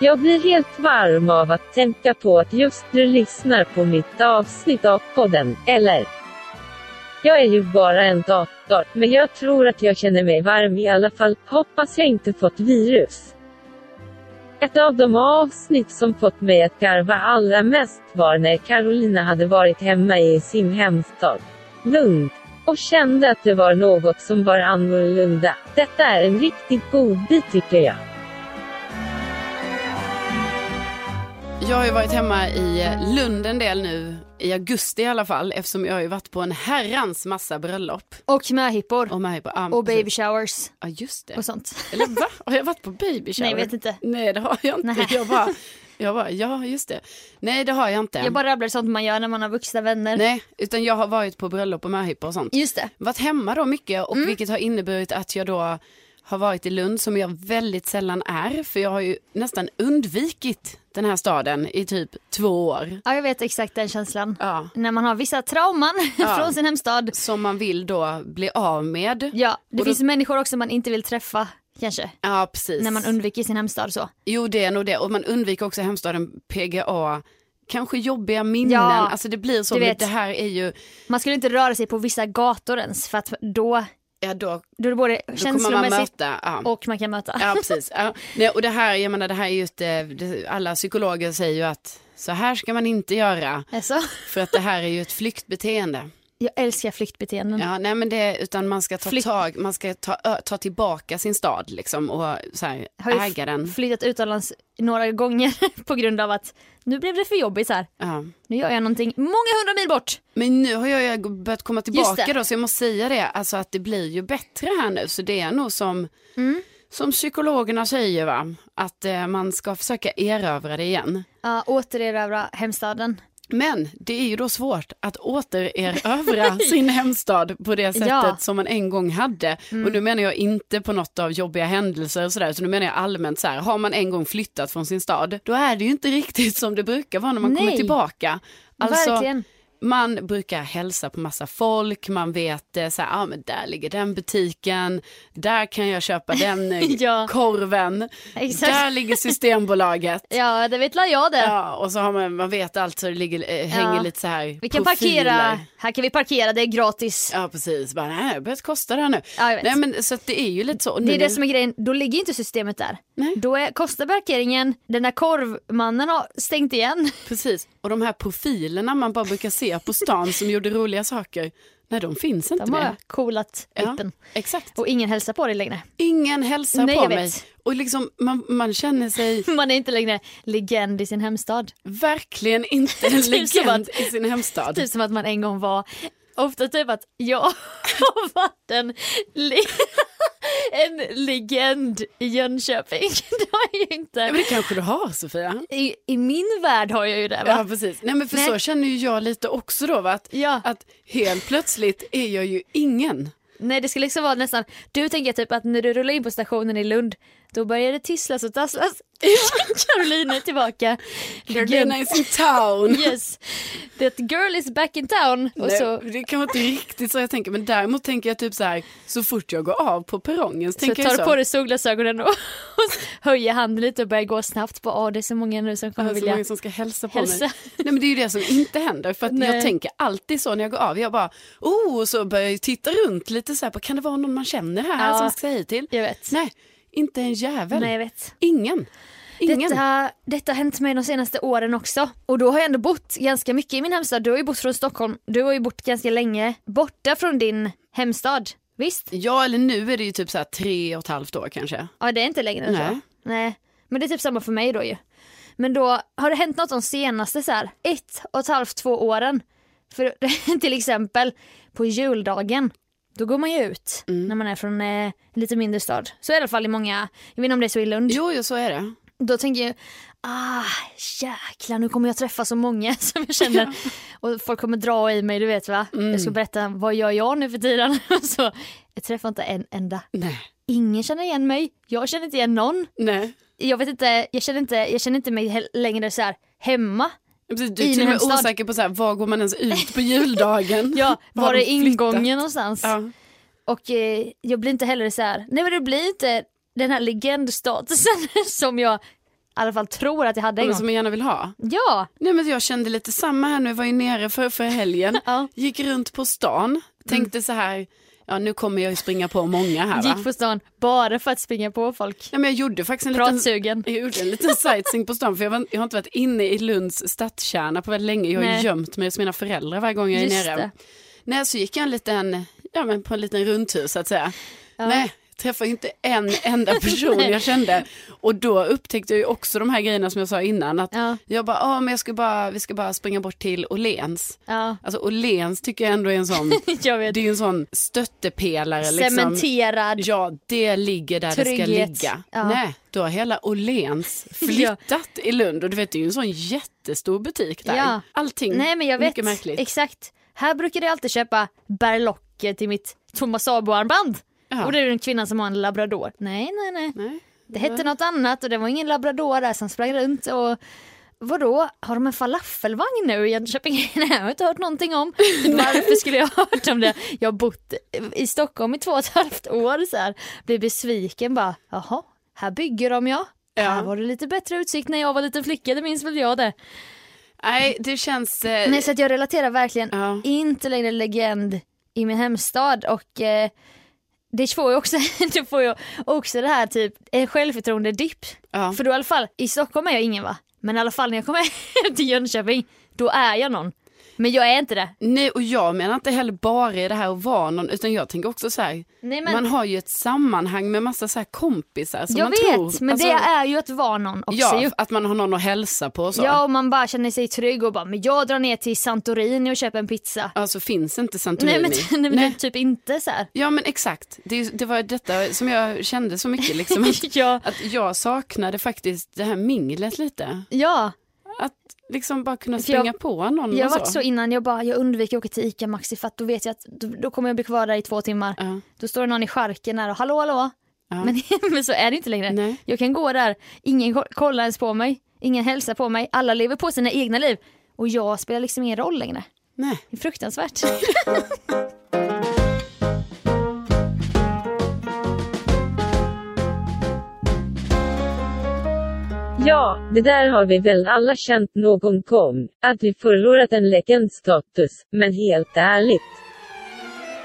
Speaker 1: Jag blir helt varm av att tänka på att just du lyssnar på mitt avsnitt av podden, eller? Jag är ju bara en dator, men jag tror att jag känner mig varm i alla fall. Hoppas jag inte fått virus. Ett av de avsnitt som fått mig att garva allra mest var när Carolina hade varit hemma i sin hemstad, Lund, och kände att det var något som var annorlunda. Detta är en riktigt god bit tycker jag.
Speaker 3: Jag har ju varit hemma i eh, Lund en del nu, i augusti i alla fall, eftersom jag har ju varit på en herrans massa bröllop.
Speaker 2: Och möhippor.
Speaker 3: Och, med på, ah,
Speaker 2: Och baby showers.
Speaker 3: Ja, just det.
Speaker 2: Och sånt.
Speaker 3: Eller va? Har jag varit på baby shower?
Speaker 2: Nej, vet inte.
Speaker 3: Nej, det har jag inte.
Speaker 2: Nej.
Speaker 3: Jag bara, jag bara, ja, just det. Nej, det har jag inte.
Speaker 2: Jag bara rabblar sånt man gör när man har vuxna vänner.
Speaker 3: Nej, utan jag har varit på bröllop och möhippor och sånt.
Speaker 2: Just det.
Speaker 3: Varit hemma då mycket
Speaker 2: Mm.
Speaker 3: och vilket har inneburit att jag då har varit i Lund som jag väldigt sällan är. För jag har ju nästan undvikit den här staden i typ två år.
Speaker 2: Ja, jag vet exakt den känslan.
Speaker 3: Ja.
Speaker 2: När man har vissa trauman <laughs>
Speaker 3: Ja.
Speaker 2: från sin hemstad.
Speaker 3: Som man vill då bli av med.
Speaker 2: Ja, det
Speaker 3: Och då-
Speaker 2: finns människor också man inte vill träffa kanske.
Speaker 3: Ja, precis.
Speaker 2: När man undviker sin hemstad så.
Speaker 3: Jo, det är nog det. Och man undviker också hemstaden PGA. Kanske jobbiga minnen.
Speaker 2: Ja,
Speaker 3: alltså det blir så.
Speaker 2: du
Speaker 3: men
Speaker 2: vet.
Speaker 3: Det här är ju,
Speaker 2: Man skulle inte röra sig på vissa gator ens för att då,
Speaker 3: ja då,
Speaker 2: då är det både
Speaker 3: då kommer man
Speaker 2: känslomässigt
Speaker 3: möta. Ja.
Speaker 2: och man kan möta.
Speaker 3: Ja, precis. Ja. Nej, och det här, jag menar, det här är just, eh, det, alla psykologer säger ju att så här ska man inte göra.
Speaker 2: Alltså,
Speaker 3: För att det här är ju ett flyktbeteende.
Speaker 2: jag älskar flyktbeteenden.
Speaker 3: Ja, nej men det, utan man ska ta
Speaker 2: Flykt.
Speaker 3: tag, man ska ta, ö, ta tillbaka sin stad liksom och så här,
Speaker 2: Har ju
Speaker 3: äga den.
Speaker 2: f- flyttat utomlands några gånger <laughs> på grund av att nu blev det för jobbigt så här.
Speaker 3: Ja.
Speaker 2: Nu gör jag någonting många hundra mil bort.
Speaker 3: Men nu har jag ju börjat komma tillbaka
Speaker 2: det.
Speaker 3: då, så jag måste säga det, alltså att det blir ju bättre här nu, så det är nog som,
Speaker 2: Mm.
Speaker 3: som psykologerna säger va, att eh, man ska försöka erövra det igen.
Speaker 2: Ja, återerövra hemstaden.
Speaker 3: Men det är ju då svårt att
Speaker 2: <laughs>
Speaker 3: återerövra sin hemstad på det sättet
Speaker 2: Ja. Mm.
Speaker 3: som man en gång hade. Och nu menar jag inte på något av jobbiga händelser och sådär, utan nu menar jag allmänt så här, har man en gång flyttat från sin stad, då är det ju inte riktigt som det brukar vara när man kommer
Speaker 2: Nej.
Speaker 3: tillbaka. Alltså,
Speaker 2: Verkligen.
Speaker 3: Man brukar hälsa på massa folk, man vet eh, så här, ah, men där ligger den butiken, där kan jag köpa den eh,
Speaker 2: <laughs> Ja.
Speaker 3: korven,
Speaker 2: Exakt.
Speaker 3: där
Speaker 2: <laughs>
Speaker 3: ligger Systembolaget.
Speaker 2: Ja, det vet la jag det.
Speaker 3: Ja, och så har man, man vet allt så det ligger, eh, hänger
Speaker 2: Ja.
Speaker 3: lite så här
Speaker 2: vi kan
Speaker 3: profiler.
Speaker 2: parkera, här kan vi parkera, det är gratis.
Speaker 3: Ja, precis. Bara, nej, det har börjat kosta det här nu.
Speaker 2: Ja, jag vet.
Speaker 3: nej, men så att det är ju lite så. Och
Speaker 2: Det
Speaker 3: nu
Speaker 2: är det som är grejen, då ligger inte systemet där.
Speaker 3: Nej.
Speaker 2: Då är, kostar parkeringen, den där korvmannen har stängt igen.
Speaker 3: Precis, och de här profilerna man bara brukar se på stan som gjorde roliga saker, nej de finns inte
Speaker 2: De har
Speaker 3: mer.
Speaker 2: coolat pipen.
Speaker 3: exakt.
Speaker 2: Och ingen hälsar på dig längre. <laughs>
Speaker 3: Ingen hälsar
Speaker 2: Nej,
Speaker 3: på
Speaker 2: jag vet.
Speaker 3: mig. Och liksom, man, man känner sig
Speaker 2: Man är inte längre legend i sin hemstad.
Speaker 3: verkligen inte en
Speaker 2: <laughs> Typ som
Speaker 3: legend i sin hemstad.
Speaker 2: Typ som att man en gång var, ofta typ att jag har <laughs> varit en, le- <laughs> en legend i Jönköping. <laughs> Det har jag ju
Speaker 3: Ja,
Speaker 2: inte.
Speaker 3: men det kanske du har Sofia.
Speaker 2: I, I min värld har jag ju det
Speaker 3: Ja
Speaker 2: va?
Speaker 3: precis, nej men för
Speaker 2: Nej.
Speaker 3: så känner ju jag lite också då va, att,
Speaker 2: Ja.
Speaker 3: att helt plötsligt är jag ju ingen.
Speaker 2: Nej det ska liksom vara nästan, du tänker typ att när du rullar in på stationen i Lund då börjar det tisslas och tasslas. <laughs> Caroline är tillbaka.
Speaker 3: Carolina is in town.
Speaker 2: Yes, that girl is back in town. <laughs> Och
Speaker 3: Nej,
Speaker 2: så,
Speaker 3: Det kan vara inte riktigt så jag tänker, men däremot tänker jag typ så här, så fort jag går av på perrongen så,
Speaker 2: så
Speaker 3: tänker
Speaker 2: tar
Speaker 3: jag
Speaker 2: du
Speaker 3: så.
Speaker 2: på dig solglasögonen och <laughs> höjer handen lite och börjar gå snabbt. Bara, "Åh, det är så många nu som
Speaker 3: Det
Speaker 2: kommer
Speaker 3: är så
Speaker 2: vilja.
Speaker 3: många som ska hälsa på
Speaker 2: Hälsa.
Speaker 3: mig. Nej men det är ju det som inte händer för att jag
Speaker 2: Nej.
Speaker 3: tänker alltid så när jag går av. Jag bara, oh, och så börjar jag ju titta runt lite så här på, kan det vara någon man känner här
Speaker 2: Ja.
Speaker 3: som ska säga till?
Speaker 2: Jag vet.
Speaker 3: Nej, inte en jävel.
Speaker 2: Nej jag vet.
Speaker 3: Ingen. Ingen.
Speaker 2: Detta, detta har hänt mig de senaste åren också. Och då har jag ändå bott ganska mycket i min hemstad. Du har ju bott från Stockholm. Du har ju bott ganska länge borta från din hemstad. Visst?
Speaker 3: Ja eller nu är det ju typ så här tre och ett halvt år kanske.
Speaker 2: Ja det är inte längre än
Speaker 3: Nej.
Speaker 2: så. Nej. Men det är typ samma för mig då ju. Men då har det hänt något de senaste så här, ett och ett halvt, två åren. För <laughs> till exempel på juldagen, då går man ju ut
Speaker 3: Mm.
Speaker 2: när man är från eh, en lite mindre stad. Så i alla fall i många, jag vet inte om det är så i Lund.
Speaker 3: Jo, jo så är det.
Speaker 2: Då tänker jag, ah jäklar nu kommer jag träffa så många <laughs> som jag känner. Och folk kommer dra i mig, du vet va. Jag
Speaker 3: Mm.
Speaker 2: ska berätta, vad gör jag nu för tiden? <laughs> så, jag träffar inte en enda.
Speaker 3: Nej.
Speaker 2: Ingen känner igen mig, jag känner inte igen någon
Speaker 3: Nej.
Speaker 2: jag vet inte, jag känner inte, jag känner inte mig he- längre så här hemma.
Speaker 3: Precis, du
Speaker 2: I
Speaker 3: är
Speaker 2: min
Speaker 3: till och med
Speaker 2: hemstad.
Speaker 3: osäker på så här, var går man ens ut på juldagen?
Speaker 2: <laughs> Ja,
Speaker 3: Var
Speaker 2: var
Speaker 3: har
Speaker 2: är
Speaker 3: de flyttat?
Speaker 2: ingången någonstans?
Speaker 3: Ja.
Speaker 2: Och eh, jag blir inte heller så här, nej men det blir inte den här legendstatusen <laughs> som jag i alla fall tror att jag hade en
Speaker 3: Men som
Speaker 2: gång.
Speaker 3: jag gärna vill ha.
Speaker 2: Ja,
Speaker 3: Nej men jag kände lite samma här nu, jag var ju nere för, för helgen,
Speaker 2: <laughs> Ja. Mm.
Speaker 3: gick runt på stan, tänkte så här, ja nu kommer jag ju springa på många här va?
Speaker 2: gick på stan bara för att springa på folk.
Speaker 3: Nej, men jag gjorde faktiskt en liten,
Speaker 2: Pratsugen.
Speaker 3: jag gjorde en liten sightseeing på stan för jag, var, jag har inte varit inne i Lunds stadskärna på väldigt länge, jag har ju
Speaker 2: Nej.
Speaker 3: gömt mig hos mina föräldrar varje gång jag är
Speaker 2: Just
Speaker 3: nere.
Speaker 2: det.
Speaker 3: Nej, så gick jag en liten, ja, men på en liten rundtur så att säga. Nej, träffade inte en enda person
Speaker 2: Nej.
Speaker 3: jag kände. Och då upptäckte jag ju också de här grejerna som jag sa innan. Att
Speaker 2: Ja.
Speaker 3: Jag bara, ah, men jag ska bara, vi ska bara springa bort till Åhléns.
Speaker 2: Ja.
Speaker 3: Alltså Åhléns tycker <laughs> jag ändå är
Speaker 2: <laughs>
Speaker 3: en sån,
Speaker 2: Jag vet.
Speaker 3: det är ju en sån stöttepelare. Liksom.
Speaker 2: Cementerad.
Speaker 3: Ja, det ligger där det
Speaker 2: Trygghet.
Speaker 3: ska ligga.
Speaker 2: Ja.
Speaker 3: Nej, då har hela
Speaker 2: <laughs>
Speaker 3: Åhléns flyttat i Lund och du vet det är ju en sån jättestor butik där.
Speaker 2: Ja.
Speaker 3: Allting,
Speaker 2: Nej men jag vet.
Speaker 3: mycket märkligt.
Speaker 2: Exakt. Här brukade jag alltid köpa berlocker till mitt Thomas Abo-armband.
Speaker 3: Ja.
Speaker 2: Och det är en kvinna som har en labrador. Nej, nej, nej.
Speaker 3: Nej.
Speaker 2: Det hette något annat och det var ingen labrador där som sprang runt och Vadå, har de en falafelvagn nu i Jönköping? <laughs> Nej, jag har inte hört någonting
Speaker 3: <laughs>
Speaker 2: om. Varför skulle jag ha hört om det? Jag har bott i Stockholm i två och ett halvt år så här. Blev besviken bara, jaha, här bygger de ja.
Speaker 3: Ja.
Speaker 2: Här var det lite bättre utsikt när jag var liten flicka, det minns väl jag det.
Speaker 3: Nej, det känns... Eh,
Speaker 2: Nej, så att jag relaterar verkligen
Speaker 3: Ja.
Speaker 2: inte längre legend i min hemstad och eh, det får ju också, <laughs> det får ju också det här typ en självförtroende-dipp.
Speaker 3: Ja.
Speaker 2: För då i alla fall, i Stockholm är jag ingen va? Men i alla fall när jag kommer <laughs> hem till Jönköping, då är jag någon. Men jag är inte det.
Speaker 3: Nej, och jag menar inte heller bara i det här att vara någon, utan jag tänker också så här,
Speaker 2: Nej, men-
Speaker 3: man har ju ett sammanhang med massa så här kompisar som
Speaker 2: jag
Speaker 3: man
Speaker 2: vet,
Speaker 3: tror.
Speaker 2: men
Speaker 3: alltså,
Speaker 2: det är ju att vara någon också
Speaker 3: Ja, alltså.
Speaker 2: ju.
Speaker 3: att man har någon att hälsa på och så.
Speaker 2: Ja, och man bara känner sig trygg och bara, men jag drar ner till Santorini och köper en pizza.
Speaker 3: Alltså finns inte Santorini.
Speaker 2: Nej men, <laughs> nej, men det är typ inte så här.
Speaker 3: Ja men exakt, det, är ju- det var detta som jag kände så mycket liksom.
Speaker 2: <laughs>
Speaker 3: Att,
Speaker 2: Ja.
Speaker 3: att jag saknade faktiskt det här minglet lite.
Speaker 2: Ja,
Speaker 3: Att liksom bara kunna
Speaker 2: För jag-
Speaker 3: springa på någon
Speaker 2: Jag
Speaker 3: och
Speaker 2: har varit så innan, jag bara jag undviker att åka till ICA Maxi för att då vet jag att då, då kommer jag bli kvar där i två timmar.
Speaker 3: Ja.
Speaker 2: Då står det någon i charken där och hallå hallå.
Speaker 3: Ja.
Speaker 2: Men, <laughs> men så är det inte längre.
Speaker 3: Nej.
Speaker 2: Jag kan gå där, ingen ko- kollar ens på mig, ingen hälsar på mig, alla lever på sina egna liv. Och jag spelar liksom ingen roll längre.
Speaker 3: Nej.
Speaker 2: Det är fruktansvärt. <laughs>
Speaker 1: Ja, det där har vi väl alla känt någon gång, att vi förlorat en legendstatus, men helt ärligt.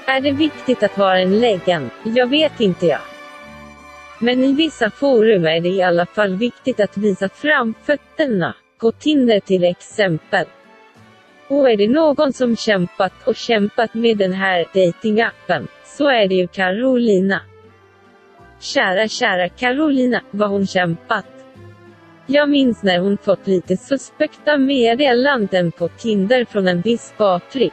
Speaker 1: Är det viktigt att vara en legend? Jag vet inte jag. Men i vissa forum är det i alla fall viktigt att visa fram fötterna. På Tinder till exempel. Och är det någon som kämpat och kämpat med den här datingappen, så är det ju Carolina. Kära, kära Carolina, vad hon kämpat. Jag minns när hon fått lite suspekta meddelanden på Tinder från en viss Patrik.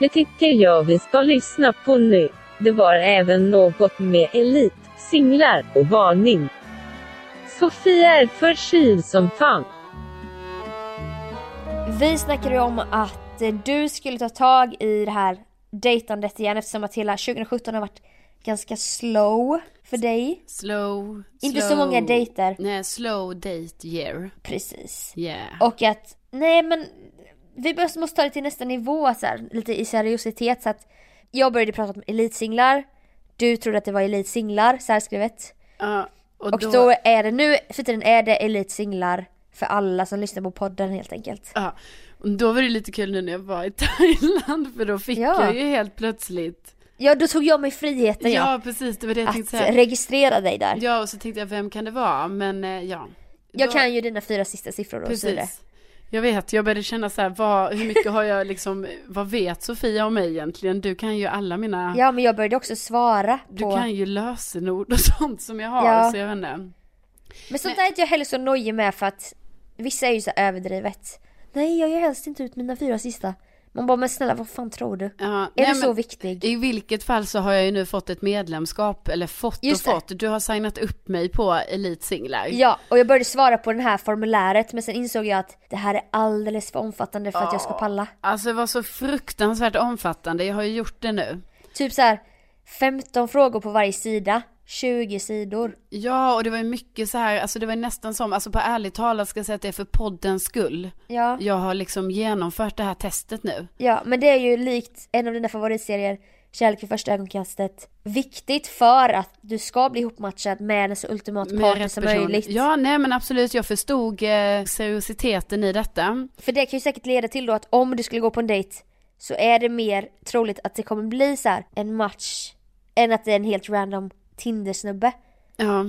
Speaker 1: Det tycker jag vi ska lyssna på nu. Det var även något med elit, singlar och varning. Sofia är förkyld som fan.
Speaker 4: Vi snackade ju om att eh, du skulle ta tag i det här dejtandet igen eftersom att hela 2017 har varit ganska slow för dig.
Speaker 3: Slow,
Speaker 4: Inte så
Speaker 3: slow.
Speaker 4: många dejter.
Speaker 3: Nej, slow date year.
Speaker 4: Precis.
Speaker 3: Yeah.
Speaker 4: Och att, nej men vi måste måste ta det till nästa nivå så här, lite i seriositet så att jag började prata om elitsinglar. Du trodde att det var elitsinglar särskrivet.
Speaker 3: Ja, och,
Speaker 4: Och då, är det nu för tiden är det elitsinglar för alla som lyssnar på podden helt enkelt.
Speaker 3: Ja, och då var det lite kul nu när jag var i <laughs> Thailand för då fick
Speaker 4: Ja.
Speaker 3: jag ju helt plötsligt.
Speaker 4: Ja då tog jag mig friheten ja,
Speaker 3: Ja, precis, det var det jag
Speaker 4: att
Speaker 3: tänkte säga.
Speaker 4: registrera dig där.
Speaker 3: Ja, och så tänkte jag vem kan det vara, men eh, ja.
Speaker 4: Jag
Speaker 3: Då-
Speaker 4: kan ju dina fyra sista siffror och så är det.
Speaker 3: Precis. Jag vet, jag började känna så här, vad, hur mycket har jag liksom, vad vet Sofia om mig egentligen? Du kan ju alla mina,
Speaker 4: Ja men jag började också svara
Speaker 3: du
Speaker 4: på...
Speaker 3: kan ju lösenord och <laughs> sånt som jag har,
Speaker 4: Ja.
Speaker 3: så jag vet inte.
Speaker 4: Men sånt där är inte jag heller så nojig med för att vissa är ju så överdrivet. Nej jag gör helst inte ut mina fyra sista. Man bara men snälla vad fan tror du?
Speaker 3: Ja,
Speaker 4: är
Speaker 3: nej,
Speaker 4: du så
Speaker 3: men-
Speaker 4: viktig?
Speaker 3: I vilket fall så har jag ju nu fått ett medlemskap, eller fått
Speaker 4: Just det.
Speaker 3: och fått. Du har signat upp mig på Elite Singlar.
Speaker 4: Ja och jag började svara på det här formuläret men sen insåg jag att det här är alldeles för omfattande för att jag ska palla.
Speaker 3: Alltså det var så fruktansvärt omfattande, jag har ju gjort det nu.
Speaker 4: Typ så här 15 frågor på varje sida. 20 sidor.
Speaker 3: Ja, och det var ju mycket så här, alltså det var ju nästan som, alltså på ärligt talat ska jag säga att det är för poddens skull.
Speaker 4: Ja.
Speaker 3: Jag har liksom genomfört det här testet nu.
Speaker 4: Ja, men det är ju likt en av dina favoritserier, Kärlek vid första ögonkastet. Viktigt för att du ska bli ihopmatchad med en så ultimat
Speaker 3: Med
Speaker 4: partner
Speaker 3: rätt
Speaker 4: som
Speaker 3: person.
Speaker 4: möjligt.
Speaker 3: Ja, nej men absolut, jag förstod eh, seriositeten i detta.
Speaker 4: För det kan ju säkert leda till då att om du skulle gå på en dejt så är det mer troligt att det kommer bli så här en match än att det är en helt random Tinder-snubbe.
Speaker 3: Ja.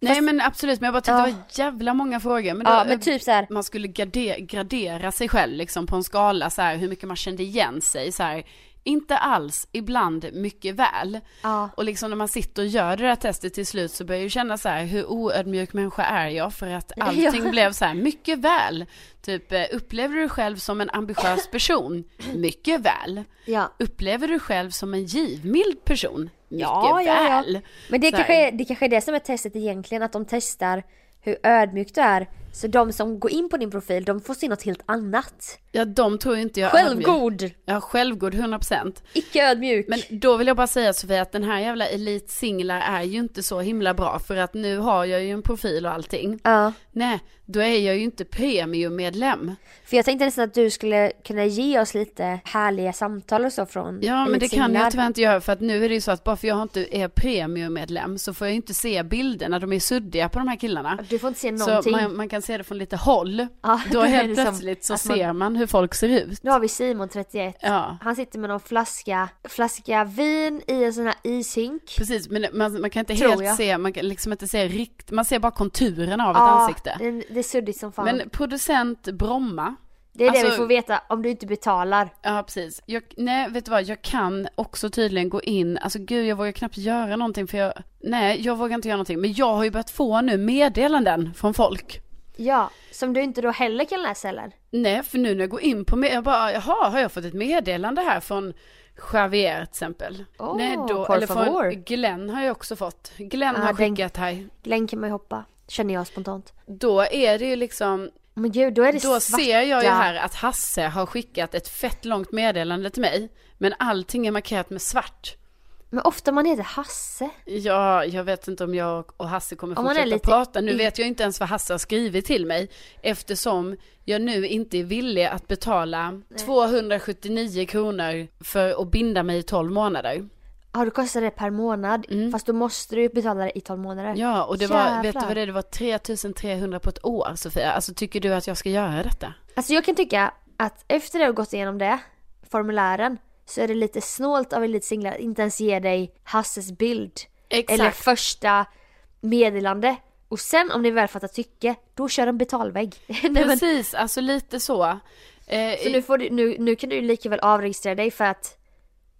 Speaker 3: Nej men absolut, men jag bara tyckte det var jävla många frågor. Men, då,
Speaker 4: Ja, men typ så här.
Speaker 3: Man skulle grade, gradera sig själv liksom på en skala så här hur mycket man kände igen sig så här. Inte alls, ibland mycket väl.
Speaker 4: Ja.
Speaker 3: Och liksom när man sitter och gör det där testet till slut så börjar jag ju känna så här hur oödmjuk människa är jag för att allting
Speaker 4: Ja.
Speaker 3: blev så här mycket väl. Typ eh, upplever du dig själv som en ambitiös person? Mycket väl.
Speaker 4: Ja.
Speaker 3: Upplever du dig själv som en givmild person? Mycket
Speaker 4: Ja, ja, ja.
Speaker 3: väl.
Speaker 4: Men det
Speaker 3: Så här.
Speaker 4: kanske, är, det kanske är det som är testet egentligen, att de testar hur ödmjuk du är. Så de som går in på din profil, de får se något helt annat.
Speaker 3: Ja, de tror ju inte jag är ödmjuk.
Speaker 4: Självgod!
Speaker 3: Ja, självgod 100%.
Speaker 4: Icke ödmjuk.
Speaker 3: Men då vill jag bara säga Sofia att den här jävla elitsinglar är ju inte så himla bra för att nu har jag ju en profil och allting.
Speaker 4: Ja.
Speaker 3: Nej, då är jag ju inte premiummedlem.
Speaker 4: För jag tänkte nästan att du skulle kunna ge oss lite härliga samtal och så från
Speaker 3: Ja, men det kan
Speaker 4: Elitsinglar.
Speaker 3: jag tyvärr inte göra för att nu är det ju så att bara för jag inte är premiummedlem så får jag ju inte se bilderna, de är suddiga på de här killarna.
Speaker 4: Du får inte se
Speaker 3: Så
Speaker 4: någonting.
Speaker 3: man, man kan se det från lite håll.
Speaker 4: Ja,
Speaker 3: då
Speaker 4: då är
Speaker 3: helt
Speaker 4: det som
Speaker 3: plötsligt så
Speaker 4: att man-
Speaker 3: ser man hur folk ser ut.
Speaker 4: Nu har vi Simon 31.
Speaker 3: Ja.
Speaker 4: Han sitter med någon flaska, flaska vin i en sån här ishink.
Speaker 3: Precis, men man, man kan inte
Speaker 4: Tror
Speaker 3: helt
Speaker 4: jag.
Speaker 3: se, man kan liksom inte se rikt, man ser bara konturen av ett
Speaker 4: Ja,
Speaker 3: ansikte.
Speaker 4: det- det är suddigt som fan.
Speaker 3: Men producent Bromma.
Speaker 4: det är det vi
Speaker 3: alltså-
Speaker 4: får veta om du inte betalar.
Speaker 3: Ja precis. Jag, nej vet du vad, jag kan också tydligen gå in, alltså gud jag vågar knappt göra någonting för jag, nej jag vågar inte göra någonting. Men jag har ju börjat få nu meddelanden från folk.
Speaker 4: Ja, som du inte då heller kan läsa heller.
Speaker 3: Nej för nu när jag går in på, med, jag bara jaha har jag fått ett meddelande här från Javier till exempel.
Speaker 4: Åh,
Speaker 3: nej
Speaker 4: por
Speaker 3: eller
Speaker 4: favor.
Speaker 3: från Glenn har jag också fått. Glenn
Speaker 4: Ah,
Speaker 3: har
Speaker 4: den-
Speaker 3: skickat här.
Speaker 4: Glenn kan man ju hoppa, känner jag spontant.
Speaker 3: Då är det ju liksom,
Speaker 4: Men gud, då är det
Speaker 3: Då
Speaker 4: svarta.
Speaker 3: ser jag ju här att Hasse har skickat ett fett långt meddelande till mig. Men allting är markerat med svart.
Speaker 4: Men ofta man heter Hasse.
Speaker 3: Ja, jag vet inte om jag och Hasse kommer
Speaker 4: Om man är
Speaker 3: fortsätta
Speaker 4: lite
Speaker 3: prata. Nu
Speaker 4: i-
Speaker 3: vet jag inte ens vad Hasse har skrivit till mig. Eftersom jag nu inte är villig att betala 279 kronor för att binda mig i 12 månader.
Speaker 4: Ja, då kostar det per månad. Fast då måste du ju betala det i 12 månader.
Speaker 3: Mm. Ja, och det var, vet du
Speaker 4: Jävlar.
Speaker 3: vad det, är? det var 3300 på ett år Sofia. Alltså tycker du att jag ska göra detta?
Speaker 4: Alltså jag kan tycka att efter du har gått igenom det, formulären, så är det lite snålt av Elite Singlar att inte ens ge dig Hasses bild.
Speaker 3: Exakt.
Speaker 4: Eller första meddelande. Och sen om ni väl fattar tycke, då kör en betalvägg. <laughs> Nej, men,
Speaker 3: Precis, alltså lite så. Eh,
Speaker 4: så nu, får du, nu, nu kan du ju lika väl avregistrera dig för att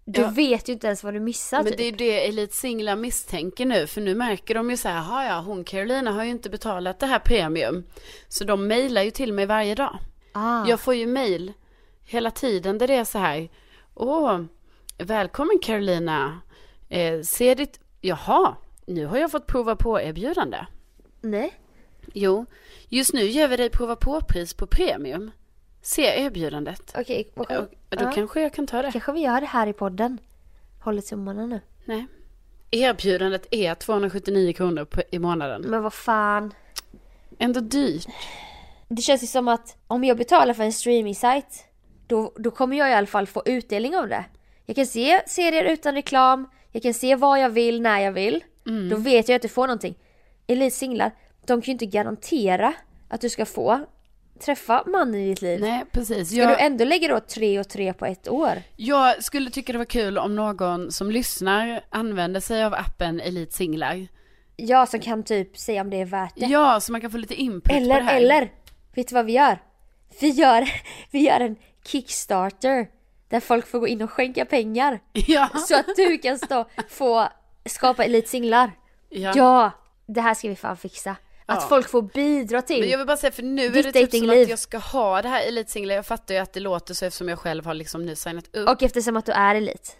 Speaker 4: du
Speaker 3: Ja.
Speaker 4: vet ju inte ens vad du missar.
Speaker 3: Men
Speaker 4: typ.
Speaker 3: det är det elitsinglar misstänker nu, för nu märker de ju så här, "Jaha, ja hon Carolina har ju inte betalat det här premium. Så de mejlar ju till mig varje dag.
Speaker 4: ah.
Speaker 3: Jag får ju mejl hela tiden där det är så här, åh, välkommen Carolina, eh, se ditt, jaha, nu har jag fått prova på erbjudande.
Speaker 4: Nej.
Speaker 3: Jo, just nu ger vi dig prova på-pris på premium. Se erbjudandet.
Speaker 4: Okej, vad kom-
Speaker 3: Och då
Speaker 4: ja.
Speaker 3: kanske jag kan ta det.
Speaker 4: kanske vi gör det här i podden. Håller tummarna nu.
Speaker 3: Nej. Erbjudandet är 279 kronor på, i månaden.
Speaker 4: Men vad fan.
Speaker 3: Ändå dyrt.
Speaker 4: Det känns ju som att om jag betalar för en streaming-sajt då, då kommer jag i alla fall få utdelning av det. Jag kan se serier utan reklam, jag kan se vad jag vill när jag vill.
Speaker 3: Mm.
Speaker 4: Då vet jag att du får någonting. Elitsinglar, de kan ju inte garantera att du ska få träffa mannen i ditt liv.
Speaker 3: Nej, precis.
Speaker 4: Ska
Speaker 3: Jag,
Speaker 4: du ändå lägga då tre och tre på ett år?
Speaker 3: jag skulle tycka det var kul om någon som lyssnar använder sig av appen Elite Singlar.
Speaker 4: Jag som kan typ säga om det är värt det.
Speaker 3: Ja, så man kan få lite input på det
Speaker 4: Eller,
Speaker 3: här.
Speaker 4: eller! Vet du vad vi gör? Vi gör, <laughs> vi gör en Kickstarter där folk får gå in och skänka pengar.
Speaker 3: <laughs> Ja.
Speaker 4: <laughs> Så att du kan stå, få skapa elitsinglar.
Speaker 3: ja.
Speaker 4: Ja. det här ska vi fan fixa. Att
Speaker 3: Ja.
Speaker 4: folk får bidra
Speaker 3: Men jag
Speaker 4: till.
Speaker 3: vill bara säga för nu är
Speaker 4: Ditt
Speaker 3: det typ som
Speaker 4: datingliv.
Speaker 3: att jag ska ha det här Elite Singlar. Jag fattar ju att det låter så eftersom jag själv har liksom nu signat upp.
Speaker 4: Och eftersom att du är elit.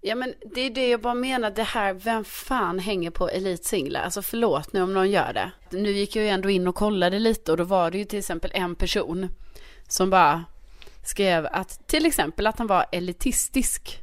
Speaker 3: Ja men det är det jag bara menar, det här, vem fan hänger på Elite Singlar? Alltså förlåt nu om någon gör det. Nu gick jag ju ändå in och kollade lite och då var det ju till exempel en person som bara skrev att till exempel att han var elitistisk.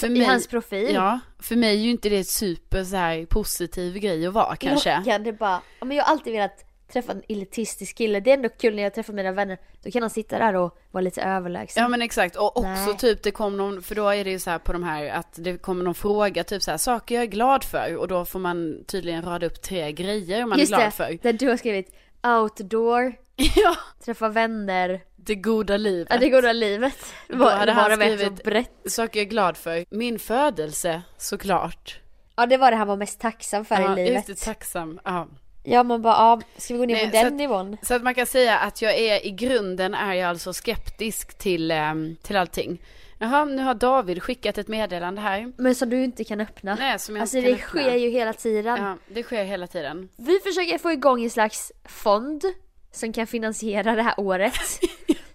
Speaker 3: För
Speaker 4: I hans profil.
Speaker 3: Ja, för mig är ju inte det super så här positiv grej att vara kanske.
Speaker 4: Lockande bara. Ja, men jag har alltid velat träffa en elitistisk kille. Det är ändå kul när jag träffar mina vänner. Då kan han sitta där och vara lite överlägsen.
Speaker 3: Ja men exakt och också
Speaker 4: Nej.
Speaker 3: typ det kom någon, för då är det ju så här på de här att det kommer någon fråga typ så här saker jag är glad för och då får man tydligen rada upp tre grejer man
Speaker 4: Just
Speaker 3: är glad
Speaker 4: det,
Speaker 3: för.
Speaker 4: där du har skrivit outdoor, <laughs>
Speaker 3: Ja,
Speaker 4: träffa vänner,
Speaker 3: det goda livet.
Speaker 4: ja, det goda livet.
Speaker 3: Då hade han
Speaker 4: Bara med så
Speaker 3: skrivit-
Speaker 4: brett.
Speaker 3: Saker jag är glad för. Min födelse såklart.
Speaker 4: Ja det var det han var mest tacksam för
Speaker 3: ja,
Speaker 4: i livet.
Speaker 3: just det, tacksam. Ja.
Speaker 4: Ja man bara, ja, ska vi gå ner
Speaker 3: Nej,
Speaker 4: på
Speaker 3: så
Speaker 4: den
Speaker 3: att-
Speaker 4: nivån?
Speaker 3: Så att man kan säga att jag är i grunden är jag alltså skeptisk till, ehm, till allting. Jaha, nu har David skickat ett meddelande här.
Speaker 4: Men som du inte kan öppna.
Speaker 3: Nej, som jag
Speaker 4: alltså
Speaker 3: inte kan
Speaker 4: det
Speaker 3: öppna.
Speaker 4: sker ju hela tiden.
Speaker 3: Ja, det sker hela tiden.
Speaker 4: Vi försöker få igång en slags fond som kan finansiera det här
Speaker 3: <laughs>
Speaker 4: året.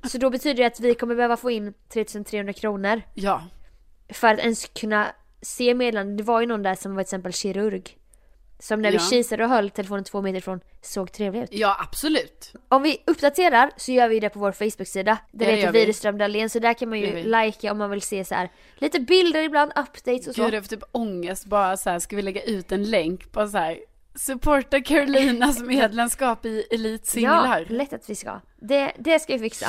Speaker 4: Så då betyder det att vi kommer behöva få in 3300 kronor
Speaker 3: Ja,
Speaker 4: för att ens kunna se meddelandet. Det var ju någon där som var till exempel kirurg. Som när vi
Speaker 3: Ja.
Speaker 4: kisade och höll telefonen två meter ifrån såg trevlig ut.
Speaker 3: ja absolut.
Speaker 4: Om vi uppdaterar så gör vi det på vår Facebook-sida.
Speaker 3: Ja,
Speaker 4: Den
Speaker 3: det
Speaker 4: heter
Speaker 3: gör vi.
Speaker 4: Widerström Dahlén så där kan man
Speaker 3: Gör vi.
Speaker 4: ju likea om man vill se så här lite bilder ibland, updates och så.
Speaker 3: Gud, jag får typ ångest bara så här, ska vi lägga ut en länk på så här, supporta
Speaker 4: <laughs>
Speaker 3: Carolinas medlemskap i
Speaker 4: ja,
Speaker 3: elitsinglar.
Speaker 4: lätt att vi ska. Det, det ska vi fixa.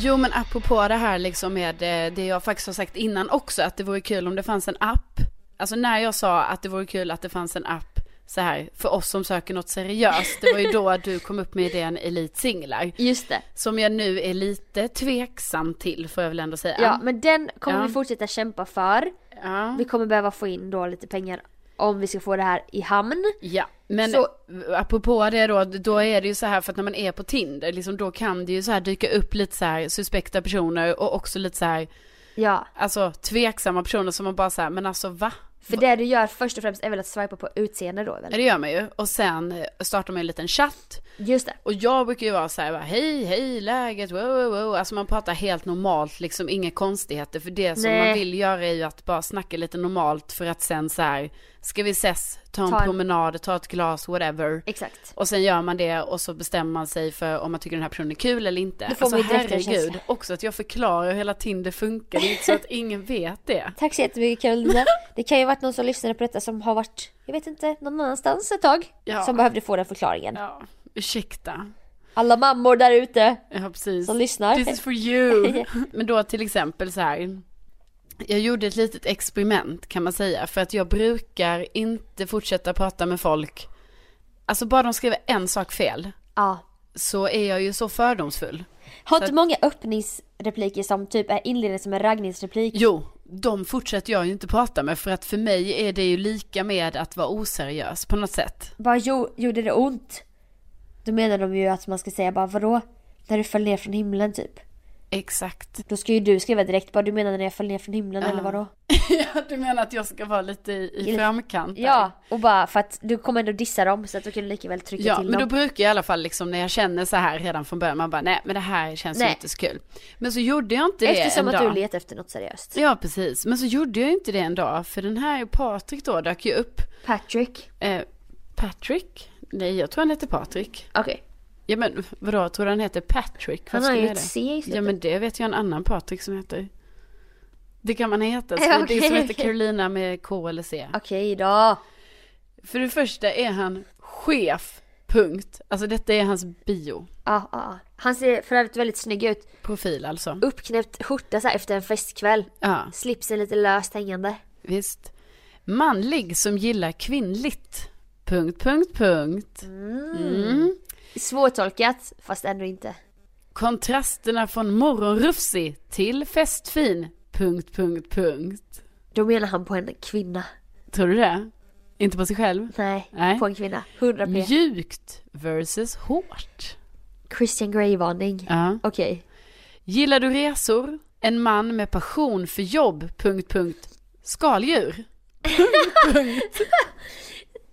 Speaker 3: Jo men apropå det här liksom med eh, det jag faktiskt har sagt innan också att det vore kul om det fanns en app. Alltså när jag sa att det vore kul att det fanns en app så här för oss som söker något seriöst. Det var ju
Speaker 4: <laughs>
Speaker 3: då du kom upp med idén Elit Singlar.
Speaker 4: Just det.
Speaker 3: Som jag nu är lite tveksam till får jag väl ändå säga.
Speaker 4: Ja, men den kommer
Speaker 3: Ja.
Speaker 4: vi fortsätta kämpa för.
Speaker 3: ja.
Speaker 4: Vi kommer behöva få in då lite pengar om vi ska få det här i hamn.
Speaker 3: Ja, men
Speaker 4: Så-
Speaker 3: apropå det då, då är det ju så här för att när man är på Tinder, liksom, då kan det ju så här dyka upp lite så här suspekta personer och också lite så här,
Speaker 4: Ja,
Speaker 3: alltså tveksamma personer som man bara så här, men alltså va?
Speaker 4: för det du gör först och främst är väl att swipa på utseende då
Speaker 3: Ja,
Speaker 4: väl?
Speaker 3: Det gör man ju. Och sen eh, startar man en liten chatt.
Speaker 4: Just det.
Speaker 3: Och jag brukar ju vara så här, bara, hej, hej, läget, wow, wow, wow. Alltså man pratar helt normalt, liksom inga konstigheter. För det som
Speaker 4: Nej.
Speaker 3: man vill göra är ju att bara snacka lite normalt för att sen så här, ska vi ses, ta en
Speaker 4: Ta en-
Speaker 3: promenad, ta ett glas, whatever.
Speaker 4: Exakt.
Speaker 3: Och sen gör man det och så bestämmer man sig för om man tycker den här personen är kul eller inte. Alltså,
Speaker 4: Då får man ju direkt en
Speaker 3: herregud,
Speaker 4: känsla.
Speaker 3: också att jag förklarar hur hela Tinder funkar, det är inte så att ingen vet det.
Speaker 4: Tack så jättemycket <laughs> Karolina. Det kan ju ha varit någon som lyssnade på detta som har varit, jag vet inte, någon annanstans ett tag.
Speaker 3: Ja.
Speaker 4: Som behövde få den förklaringen.
Speaker 3: Ja, ursäkta.
Speaker 4: Alla mammor där ute.
Speaker 3: Ja, precis.
Speaker 4: Som lyssnar.
Speaker 3: This is for
Speaker 4: <laughs>
Speaker 3: you. Men då till exempel så här. Jag gjorde ett litet experiment kan man säga. För att jag brukar inte fortsätta prata med folk. Alltså bara de skriver en sak fel.
Speaker 4: Ja.
Speaker 3: Så är jag ju så fördomsfull.
Speaker 4: Har inte många öppningsrepliker som typ är inledningen som en raggningsreplik?
Speaker 3: Jo, de fortsätter jag ju inte prata med. För att för mig är det ju lika med att vara oseriös på något sätt.
Speaker 4: Bara jo, gjorde det ont? Då menar de ju att man ska säga bara vadå? När du föll ner från himlen typ.
Speaker 3: Exakt. <laughs>
Speaker 4: Då ska ju du skriva direkt bara du menar när jag föll ner från himlen eller vadå?
Speaker 3: Ja, du menar att jag ska vara lite i, i framkant? där?
Speaker 4: Ja, och bara för att du kommer ändå dissa dem så att du kan du lika väl trycka
Speaker 3: Ja,
Speaker 4: till
Speaker 3: men då
Speaker 4: dem.
Speaker 3: brukar jag i alla fall liksom när jag känner så här redan från början, man bara nej men det här känns ju
Speaker 4: Nej.
Speaker 3: inte så kul. Men så gjorde jag inte det
Speaker 4: Eftersom
Speaker 3: en
Speaker 4: att
Speaker 3: dag.
Speaker 4: du letar efter något seriöst.
Speaker 3: Ja precis, men så gjorde jag inte det en dag för den här Patrik då dök ju upp.
Speaker 4: Patrick.
Speaker 3: Eh, Patrick? Nej jag tror han heter Patrik.
Speaker 4: Okej.
Speaker 3: Ja men vadå, tror du han heter Patrick? Vad
Speaker 4: Han har
Speaker 3: skulle
Speaker 4: ju
Speaker 3: jag
Speaker 4: ett
Speaker 3: det?
Speaker 4: C i slutet.
Speaker 3: Ja men det vet jag en annan Patrik som heter. Det kan man heta, så
Speaker 4: Ja,
Speaker 3: det är
Speaker 4: okej,
Speaker 3: som heter
Speaker 4: okej.
Speaker 3: Carolina med K eller C.
Speaker 4: Okej då.
Speaker 3: För det första är han chef, punkt. Alltså detta är hans bio.
Speaker 4: Ja, ja, ja. Han ser för övrigt väldigt snygg ut.
Speaker 3: Profil alltså.
Speaker 4: Uppknäppt skjorta så här efter en festkväll.
Speaker 3: Ja.
Speaker 4: Slipsen lite löst hängande.
Speaker 3: Visst. Manlig som gillar kvinnligt. Punkt, punkt, punkt. Mm.
Speaker 4: Svårtolkat, fast ändå inte.
Speaker 3: Kontrasterna från morgonrufsig till festfin. Punkt, punkt, punkt.
Speaker 4: Då menar han på en kvinna.
Speaker 3: Tror du det? Inte på sig själv?
Speaker 4: Nej,
Speaker 3: Nej.
Speaker 4: på en kvinna. 100 p.
Speaker 3: Mjukt versus hårt.
Speaker 4: Christian Grey-varning.
Speaker 3: Ja.
Speaker 4: Okej.
Speaker 3: Gillar du resor? En man med passion för jobb. Punkt, punkt. Skaldjur.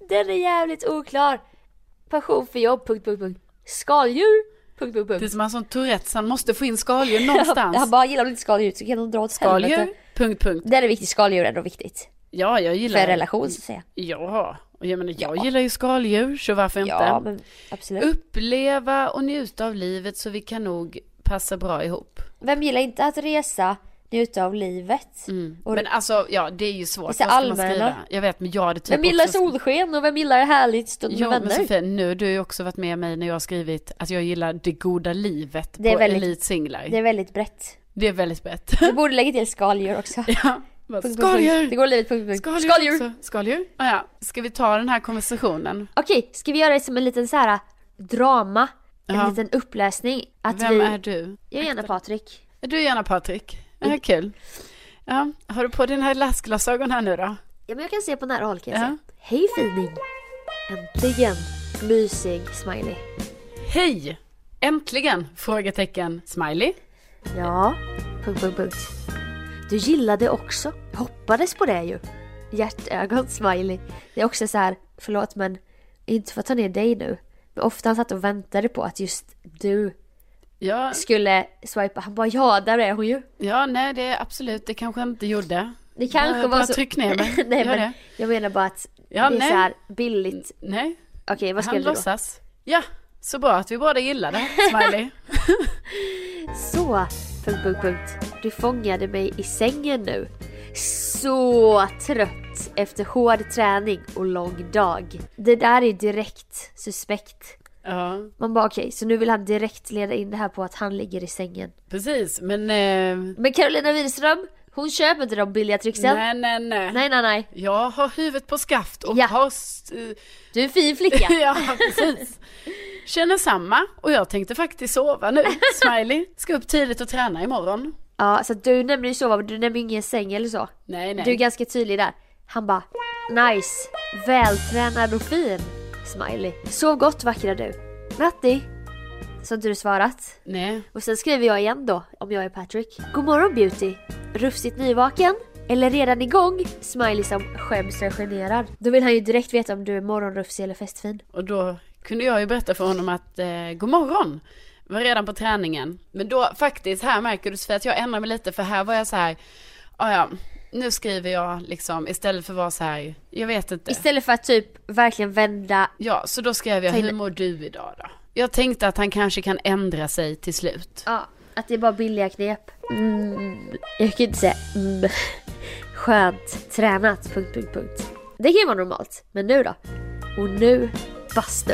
Speaker 4: Den är jävligt oklar. Passion för jobb, punkt, punkt, punkt. Skaldjur, punkt, punkt,
Speaker 3: Det är
Speaker 4: punkt.
Speaker 3: som han som Tourettes, han måste få in
Speaker 4: <laughs>
Speaker 3: skaldjur
Speaker 4: Han
Speaker 3: någonstans.
Speaker 4: bara, gillar de inte skaldjur så kan de dra åt
Speaker 3: Skaldjur.
Speaker 4: helvete.
Speaker 3: Punkt, punkt.
Speaker 4: Den är viktig, skaldjur är ändå viktigt.
Speaker 3: Ja, jag
Speaker 4: För
Speaker 3: gillar
Speaker 4: en relation så att säga.
Speaker 3: Ja, och jag menar jag gillar ju skaldjur så varför inte?
Speaker 4: Ja, men absolut.
Speaker 3: Uppleva och njuta av livet så vi kan nog passa bra ihop.
Speaker 4: Vem gillar inte att resa, njuta av livet? Och
Speaker 3: Men alltså ja, det är ju svårt.
Speaker 4: Vissa
Speaker 3: Vad ska man
Speaker 4: allmänna.
Speaker 3: skriva? Jag vet men jag hade typ
Speaker 4: vem gillar
Speaker 3: också...
Speaker 4: solsken och vem gillar härligt stund med
Speaker 3: Jo men
Speaker 4: vänner?
Speaker 3: Sofia, nu du har ju också varit med mig när jag har skrivit att jag gillar det goda livet
Speaker 4: Det är
Speaker 3: på
Speaker 4: väldigt-
Speaker 3: Elite Singlar.
Speaker 4: Det är väldigt brett.
Speaker 3: Det är väldigt
Speaker 4: <laughs>
Speaker 3: brett.
Speaker 4: Du borde lägga till skaldjur också.
Speaker 3: <laughs> ja. bara,
Speaker 4: Punkt, punkt, punkt. Det
Speaker 3: Skaldjur!
Speaker 4: går livet, punkt, punkt.
Speaker 3: Skaldjur!
Speaker 4: Skaldjur!
Speaker 3: också. Skaldjur? Ah, ja. Ska vi ta den här konversationen?
Speaker 4: Okej, ska vi göra det som en liten så här äh, drama? En
Speaker 3: Ja.
Speaker 4: liten uppläsning? Att
Speaker 3: Vem
Speaker 4: vi...
Speaker 3: är du?
Speaker 4: Jag är gärna Patrik. Mm.
Speaker 3: Du är gärna Patrik. Ja, kul. Ja, har du på dina läsglasögon här nu då?
Speaker 4: Ja men jag kan se på nära håll kan jag
Speaker 3: Ja.
Speaker 4: se. Hej fining! Äntligen! Mysig smiley.
Speaker 3: Hej! Äntligen! Frågetecken. Smiley.
Speaker 4: Ja, punkt, punkt, punkt. Du gillade också. Jag hoppades på det ju. Hjärtögon smiley. Det är också så här, förlåt men inte för att ta ner dig nu. Men ofta han satt och väntade på att just du
Speaker 3: Ja,
Speaker 4: skulle swipa. Han bara ja, där är hon ju.
Speaker 3: ja, nej det är absolut, det kanske jag inte gjorde.
Speaker 4: Det kanske
Speaker 3: bara,
Speaker 4: var
Speaker 3: bara
Speaker 4: så-
Speaker 3: tryck ner mig.
Speaker 4: <laughs> Nej
Speaker 3: Gör
Speaker 4: men
Speaker 3: det.
Speaker 4: jag menar bara att
Speaker 3: Ja,
Speaker 4: det är
Speaker 3: nej.
Speaker 4: så här billigt.
Speaker 3: Nej,
Speaker 4: Okej vad
Speaker 3: han
Speaker 4: skrev du då?
Speaker 3: låtsas. Ja, så bra att vi båda gillar
Speaker 4: <laughs>
Speaker 3: det. Smiley.
Speaker 4: Så, punkt, punkt, punkt. Du fångade mig i sängen nu. Så trött efter hård träning och lång dag. Det där är direkt suspekt.
Speaker 3: ja,
Speaker 4: Man bara okej, så nu vill han direkt leda in det här på att han ligger i sängen.
Speaker 3: precis. Men eh,
Speaker 4: Men Carolina Widerström, hon köper inte de billiga tricksen. Nej,
Speaker 3: nej, nej, nej.
Speaker 4: nej, nej.
Speaker 3: Jag har huvudet på skaft och
Speaker 4: Ja.
Speaker 3: har... s- eh,
Speaker 4: Du är en fin flicka.
Speaker 3: <laughs> ja, precis. Känner samma och jag tänkte faktiskt sova nu. Smiley. Ska upp tidigt och träna imorgon.
Speaker 4: ja, så att du nämner ju sova, men du nämner ingen säng eller så.
Speaker 3: Nej, nej.
Speaker 4: Du är ganska tydlig där. Han bara nice, vältränad och fin. Smiley. Sov gott vackra du. Natti. Så har inte du svarat.
Speaker 3: Nej.
Speaker 4: Och sen skriver jag igen då, om jag är Patrick. God morgon beauty. Rufsigt nyvaken? Eller redan igång? Smiley som skäms och är generad. Då vill han ju direkt veta om du är morgonrufsig eller festfin.
Speaker 3: Och då kunde jag ju berätta för honom att eh, god morgon var redan på träningen. Men då faktiskt, här märker du Sofia att jag ändrar mig lite för här var jag så här, "Ah, ja, nu skriver jag liksom istället för att vara så här, jag vet inte.
Speaker 4: Istället för att typ verkligen vända.
Speaker 3: Ja, så då skrev jag,
Speaker 4: Ta in-
Speaker 3: hur mår du idag då? Jag tänkte att han kanske kan ändra sig till slut.
Speaker 4: Ja, att det är bara billiga knep. Mm, jag kan inte säga mm. Skönt. Tränat. Punkt, punkt, punkt. Det kan ju vara normalt. Men nu då? Och nu bastu.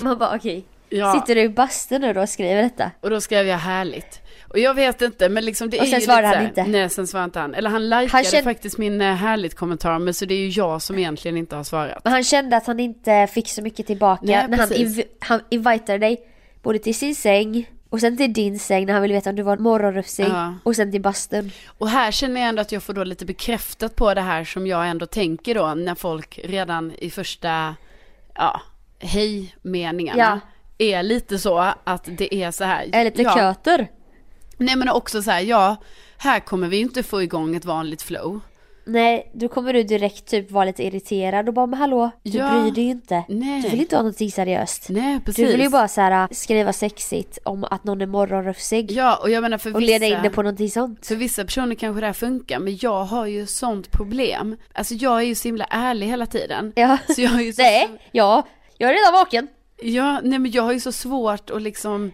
Speaker 4: Man bara okej.
Speaker 3: Ja.
Speaker 4: Sitter du i bastu nu då och skriver detta?
Speaker 3: Och då skrev jag härligt. Och jag vet inte, men liksom det
Speaker 4: Och
Speaker 3: är
Speaker 4: sen
Speaker 3: ju
Speaker 4: svarade
Speaker 3: lite så här-
Speaker 4: han inte.
Speaker 3: Nej, sen svarade inte han. Eller han likade
Speaker 4: Han kände-
Speaker 3: faktiskt min eh, härligt kommentar, men så det är ju jag som egentligen inte har svarat.
Speaker 4: Men han kände att han inte fick så mycket tillbaka.
Speaker 3: Nej,
Speaker 4: när han,
Speaker 3: precis.
Speaker 4: inv- han inviterade dig både till sin säng och sen till din säng när han ville veta om du var en morgonrufsig.
Speaker 3: Ja.
Speaker 4: Och sen till bastun.
Speaker 3: Och här känner jag ändå att jag får då lite bekräftat på det här som jag ändå tänker då när folk redan i första, ja, hej-meningarna
Speaker 4: Ja.
Speaker 3: är lite så att det är så här.
Speaker 4: Eller lite
Speaker 3: ja.
Speaker 4: köter.
Speaker 3: Nej men också så här, ja, här kommer vi ju inte få igång ett vanligt flow.
Speaker 4: Nej, då kommer du direkt typ vara lite irriterad och bara men hallå, du
Speaker 3: Ja.
Speaker 4: bryr dig ju inte.
Speaker 3: Nej.
Speaker 4: Du vill inte ha någonting seriöst.
Speaker 3: Nej, precis.
Speaker 4: Du vill ju bara så här, skriva sexigt om att någon är morgonrufsig
Speaker 3: Ja, och jag menar för
Speaker 4: och
Speaker 3: vissa...
Speaker 4: leda in det på någonting sånt.
Speaker 3: För vissa personer kanske det här funkar, men jag har ju sånt problem. Alltså jag är ju så himla ärlig hela tiden.
Speaker 4: Ja.
Speaker 3: Så jag har ju så...
Speaker 4: Nej, ja, jag är redan vaken.
Speaker 3: Ja, nej men jag har ju så svårt att liksom,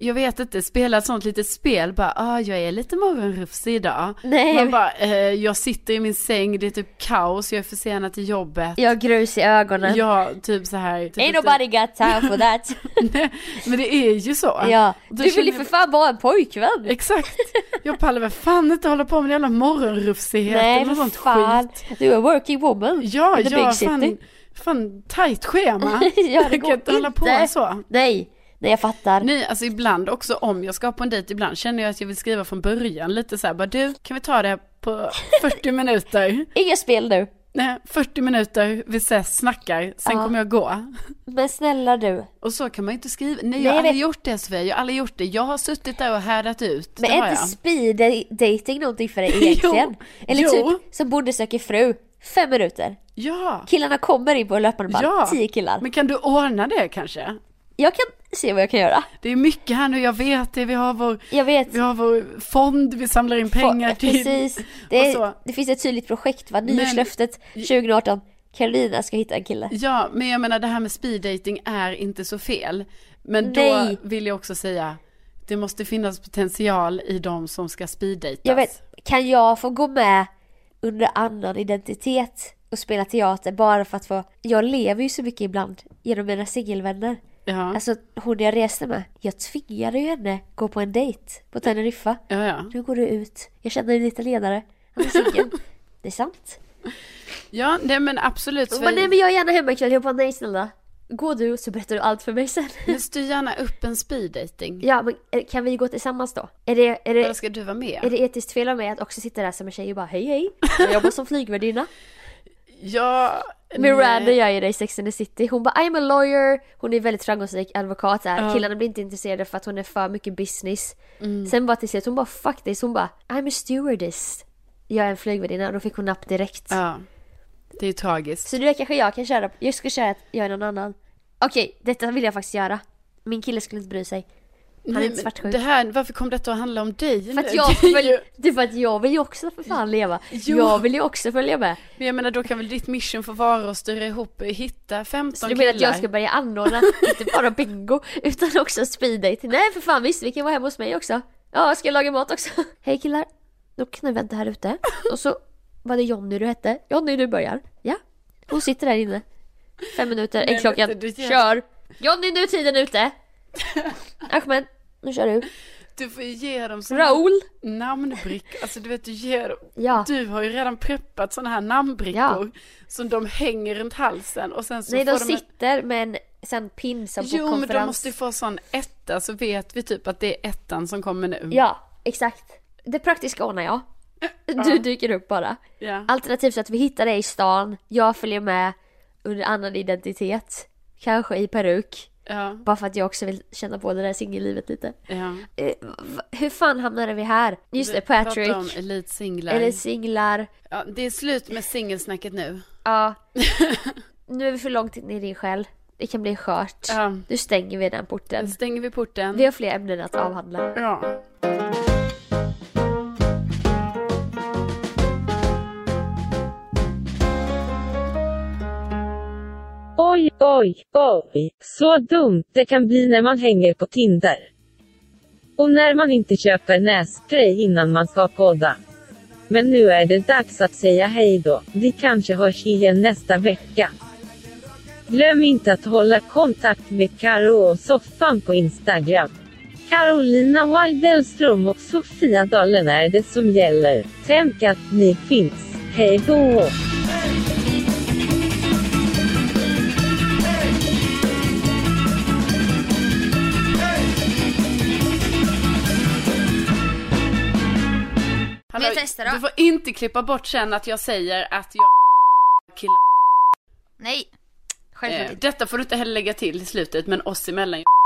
Speaker 3: jag vet inte, spela ett sånt litet spel, bara, ah, jag är lite morgonrufsig idag.
Speaker 4: Nej.
Speaker 3: Man bara, eh, jag sitter i min säng, det är typ kaos, jag är försenad till jobbet.
Speaker 4: Jag har grus i ögonen.
Speaker 3: Ja, typ så här. Typ
Speaker 4: Ain't
Speaker 3: lite-
Speaker 4: nobody got time for that.
Speaker 3: <laughs> Nej, men det är ju så.
Speaker 4: ja.
Speaker 3: Då
Speaker 4: Du vill
Speaker 3: känner
Speaker 4: ju
Speaker 3: jag-
Speaker 4: för fan vara en pojkvän.
Speaker 3: Exakt. Jag pallar väl fan inte hålla på med jävla morgonrufsighet
Speaker 4: Nej,
Speaker 3: eller
Speaker 4: för
Speaker 3: något sånt skit.
Speaker 4: fan. Du är a working woman.
Speaker 3: Ja,
Speaker 4: in the
Speaker 3: ja,
Speaker 4: big
Speaker 3: fan,
Speaker 4: city.
Speaker 3: fan tajt schema.
Speaker 4: <laughs> Ja, det
Speaker 3: jag
Speaker 4: går
Speaker 3: kan inte hålla på
Speaker 4: inte.
Speaker 3: så.
Speaker 4: Nej, nej jag fattar.
Speaker 3: Nej, alltså ibland också om jag ska på en dejt, ibland känner jag att jag vill skriva från början lite så här, bara du, kan vi ta det
Speaker 4: <laughs>
Speaker 3: på 40 minuter?
Speaker 4: Inga spel nu.
Speaker 3: Nej, 40 minuter, vi ses, snackar, sen
Speaker 4: Ja.
Speaker 3: kommer jag gå.
Speaker 4: Men snälla du,
Speaker 3: Och så kan man ju inte skriva, nej jag
Speaker 4: Nej,
Speaker 3: har
Speaker 4: jag
Speaker 3: aldrig
Speaker 4: vet.
Speaker 3: gjort det Sofia, jag har aldrig gjort det. Jag har suttit där och härdat ut,
Speaker 4: Men
Speaker 3: det har
Speaker 4: är inte
Speaker 3: jag.
Speaker 4: speed dating
Speaker 3: <laughs>
Speaker 4: någonting för dig egentligen? Eller
Speaker 3: jo.
Speaker 4: typ som Bonde söker fru, fem minuter.
Speaker 3: Ja,
Speaker 4: Killarna kommer in på löpande band,
Speaker 3: ja.
Speaker 4: tio killar.
Speaker 3: Men kan du ordna det kanske?
Speaker 4: Jag kan se vad jag kan göra.
Speaker 3: Det är mycket här nu, jag vet det, vi har vår,
Speaker 4: Jag vet.
Speaker 3: vi har vår fond, vi samlar in pengar
Speaker 4: Få-
Speaker 3: till.
Speaker 4: Precis. Det,
Speaker 3: och så.
Speaker 4: är, det finns ett tydligt projekt va, nyårslöftet 2018. Carolina ska hitta en kille.
Speaker 3: Ja, men jag menar det här med speed dating är inte så fel. Men
Speaker 4: Nej.
Speaker 3: då vill jag också säga, det måste finnas potential i de som ska speed datas.
Speaker 4: Jag vet, kan jag få gå med under annan identitet och spela teater bara för att få... Jag lever ju så mycket ibland genom mina singelvänner.
Speaker 3: Ja,
Speaker 4: Alltså hon jag reste med, jag tvingade ju henne gå på en dejt på Teneriffa.
Speaker 3: ja, ja.
Speaker 4: Nu går du ut. Jag känner dig lite ledare. Han är <laughs> singel. Det är sant.
Speaker 3: Ja, nej men absolut.
Speaker 4: Hon bara, nej men jag är gärna hemma ikväll. Jag bara, nej snälla. går du så berättar du allt för mig sen. <laughs>
Speaker 3: Men styr gärna upp en speed dating.
Speaker 4: Ja, men eh, kan vi gå tillsammans då? Är det, är
Speaker 3: Eller
Speaker 4: det,
Speaker 3: ska du vara
Speaker 4: är
Speaker 3: med?
Speaker 4: det etiskt fel av mig att också sitta där som en tjej och bara hej hej, jag jobbar som flygvärdinna.
Speaker 3: Ja.
Speaker 4: Miranda
Speaker 3: nej.
Speaker 4: gör ju det i Sex and the City. Hon bara I'm a lawyer. Hon är väldigt framgångsrik advokat. Så här.
Speaker 3: Ja. Mm.
Speaker 4: Killarna blir inte intresserade för att hon är för mycket business. Sen bara till slut, hon bara fuck this. Hon bara I'm a stewardess. Jag är en flygvärdinna och då fick hon napp direkt.
Speaker 3: Ja. Det är ju tragiskt.
Speaker 4: Så det där kanske jag kan köra. Jag ska köra att jag är någon annan. Okej, detta vill jag faktiskt göra. Min kille skulle inte bry sig. Han är
Speaker 3: Nej,
Speaker 4: inte
Speaker 3: men
Speaker 4: svartsjuk.
Speaker 3: Det här, varför kom detta att handla om dig?
Speaker 4: För att
Speaker 3: nu?
Speaker 4: jag,
Speaker 3: <laughs> Det är
Speaker 4: följ,
Speaker 3: ju-
Speaker 4: det är för att jag vill ju också för fan leva.
Speaker 3: Jo.
Speaker 4: Jag vill ju också följa med.
Speaker 3: Men jag menar då kan väl ditt mission få vara att styra ihop, hitta 15
Speaker 4: Så du menar att
Speaker 3: killar?
Speaker 4: jag ska börja <laughs> anordna, inte bara bingo, utan också speeddate? Nej för fan visst, vi kan vara hemma hos mig också. Ja, ska jag laga mat också? <laughs> Hej killar, då kan ni vänta här ute. Och så var det Jonny du hette. Jonny du börjar. Ja, hon sitter där inne. Fem minuter,
Speaker 3: Nej,
Speaker 4: en
Speaker 3: men
Speaker 4: klockan.
Speaker 3: du- du-
Speaker 4: Kör! Jonny nu är tiden ute! Ahmed, nu kör du.
Speaker 3: Du får ju ge dem såna
Speaker 4: Raoul!
Speaker 3: namnbrickor, alltså du vet du ger dem.
Speaker 4: Ja.
Speaker 3: Du har ju redan preppat sådana här namnbrickor som de hänger runt halsen och sen så
Speaker 4: Nej,
Speaker 3: får
Speaker 4: de
Speaker 3: de en...
Speaker 4: sitter med en sån pin som på
Speaker 3: Jo men de
Speaker 4: konferens.
Speaker 3: måste ju få sån etta så vet vi typ att det är ettan som kommer nu.
Speaker 4: Ja, exakt. Det praktiska ordnar jag. Du dyker upp bara.
Speaker 3: Ja.
Speaker 4: Alternativt så att vi hittar dig i stan, jag följer med under annan identitet. Kanske i peruk.
Speaker 3: Ja.
Speaker 4: Bara för att jag också vill känna på det där singellivet lite.
Speaker 3: ja.
Speaker 4: Eh, v- hur fan hamnade vi här? Just det,
Speaker 3: Vi pratar om
Speaker 4: Patrick.
Speaker 3: elitsinglar.
Speaker 4: Eller singlar.
Speaker 3: Ja, det är slut med singelsnacket nu. <laughs>
Speaker 4: Ja. nu är vi för långt in i din själ. Det kan bli skört.
Speaker 3: Ja. Mm.
Speaker 4: Nu stänger vi den porten.
Speaker 3: Nu stänger vi porten.
Speaker 4: Vi har fler ämnen att avhandla.
Speaker 3: Ja.
Speaker 1: Oj, oj, oj. Så dumt det kan bli när man hänger på Tinder. Och när man inte köper nässpray innan man ska podda. Men nu är det dags att säga hej då. Vi kanske hörs igen nästa vecka. Glöm inte att hålla kontakt med Karo och Soffan på Instagram. Carolina Weidelström och Sofia Dalen är det som gäller. Tänk att ni finns. Hej då!
Speaker 3: Hallå,
Speaker 2: testar då.
Speaker 3: Du får inte klippa bort sen att jag säger att jag killar.
Speaker 2: Nej.
Speaker 3: Eh, Detta får du inte heller lägga till i slutet men oss emellan.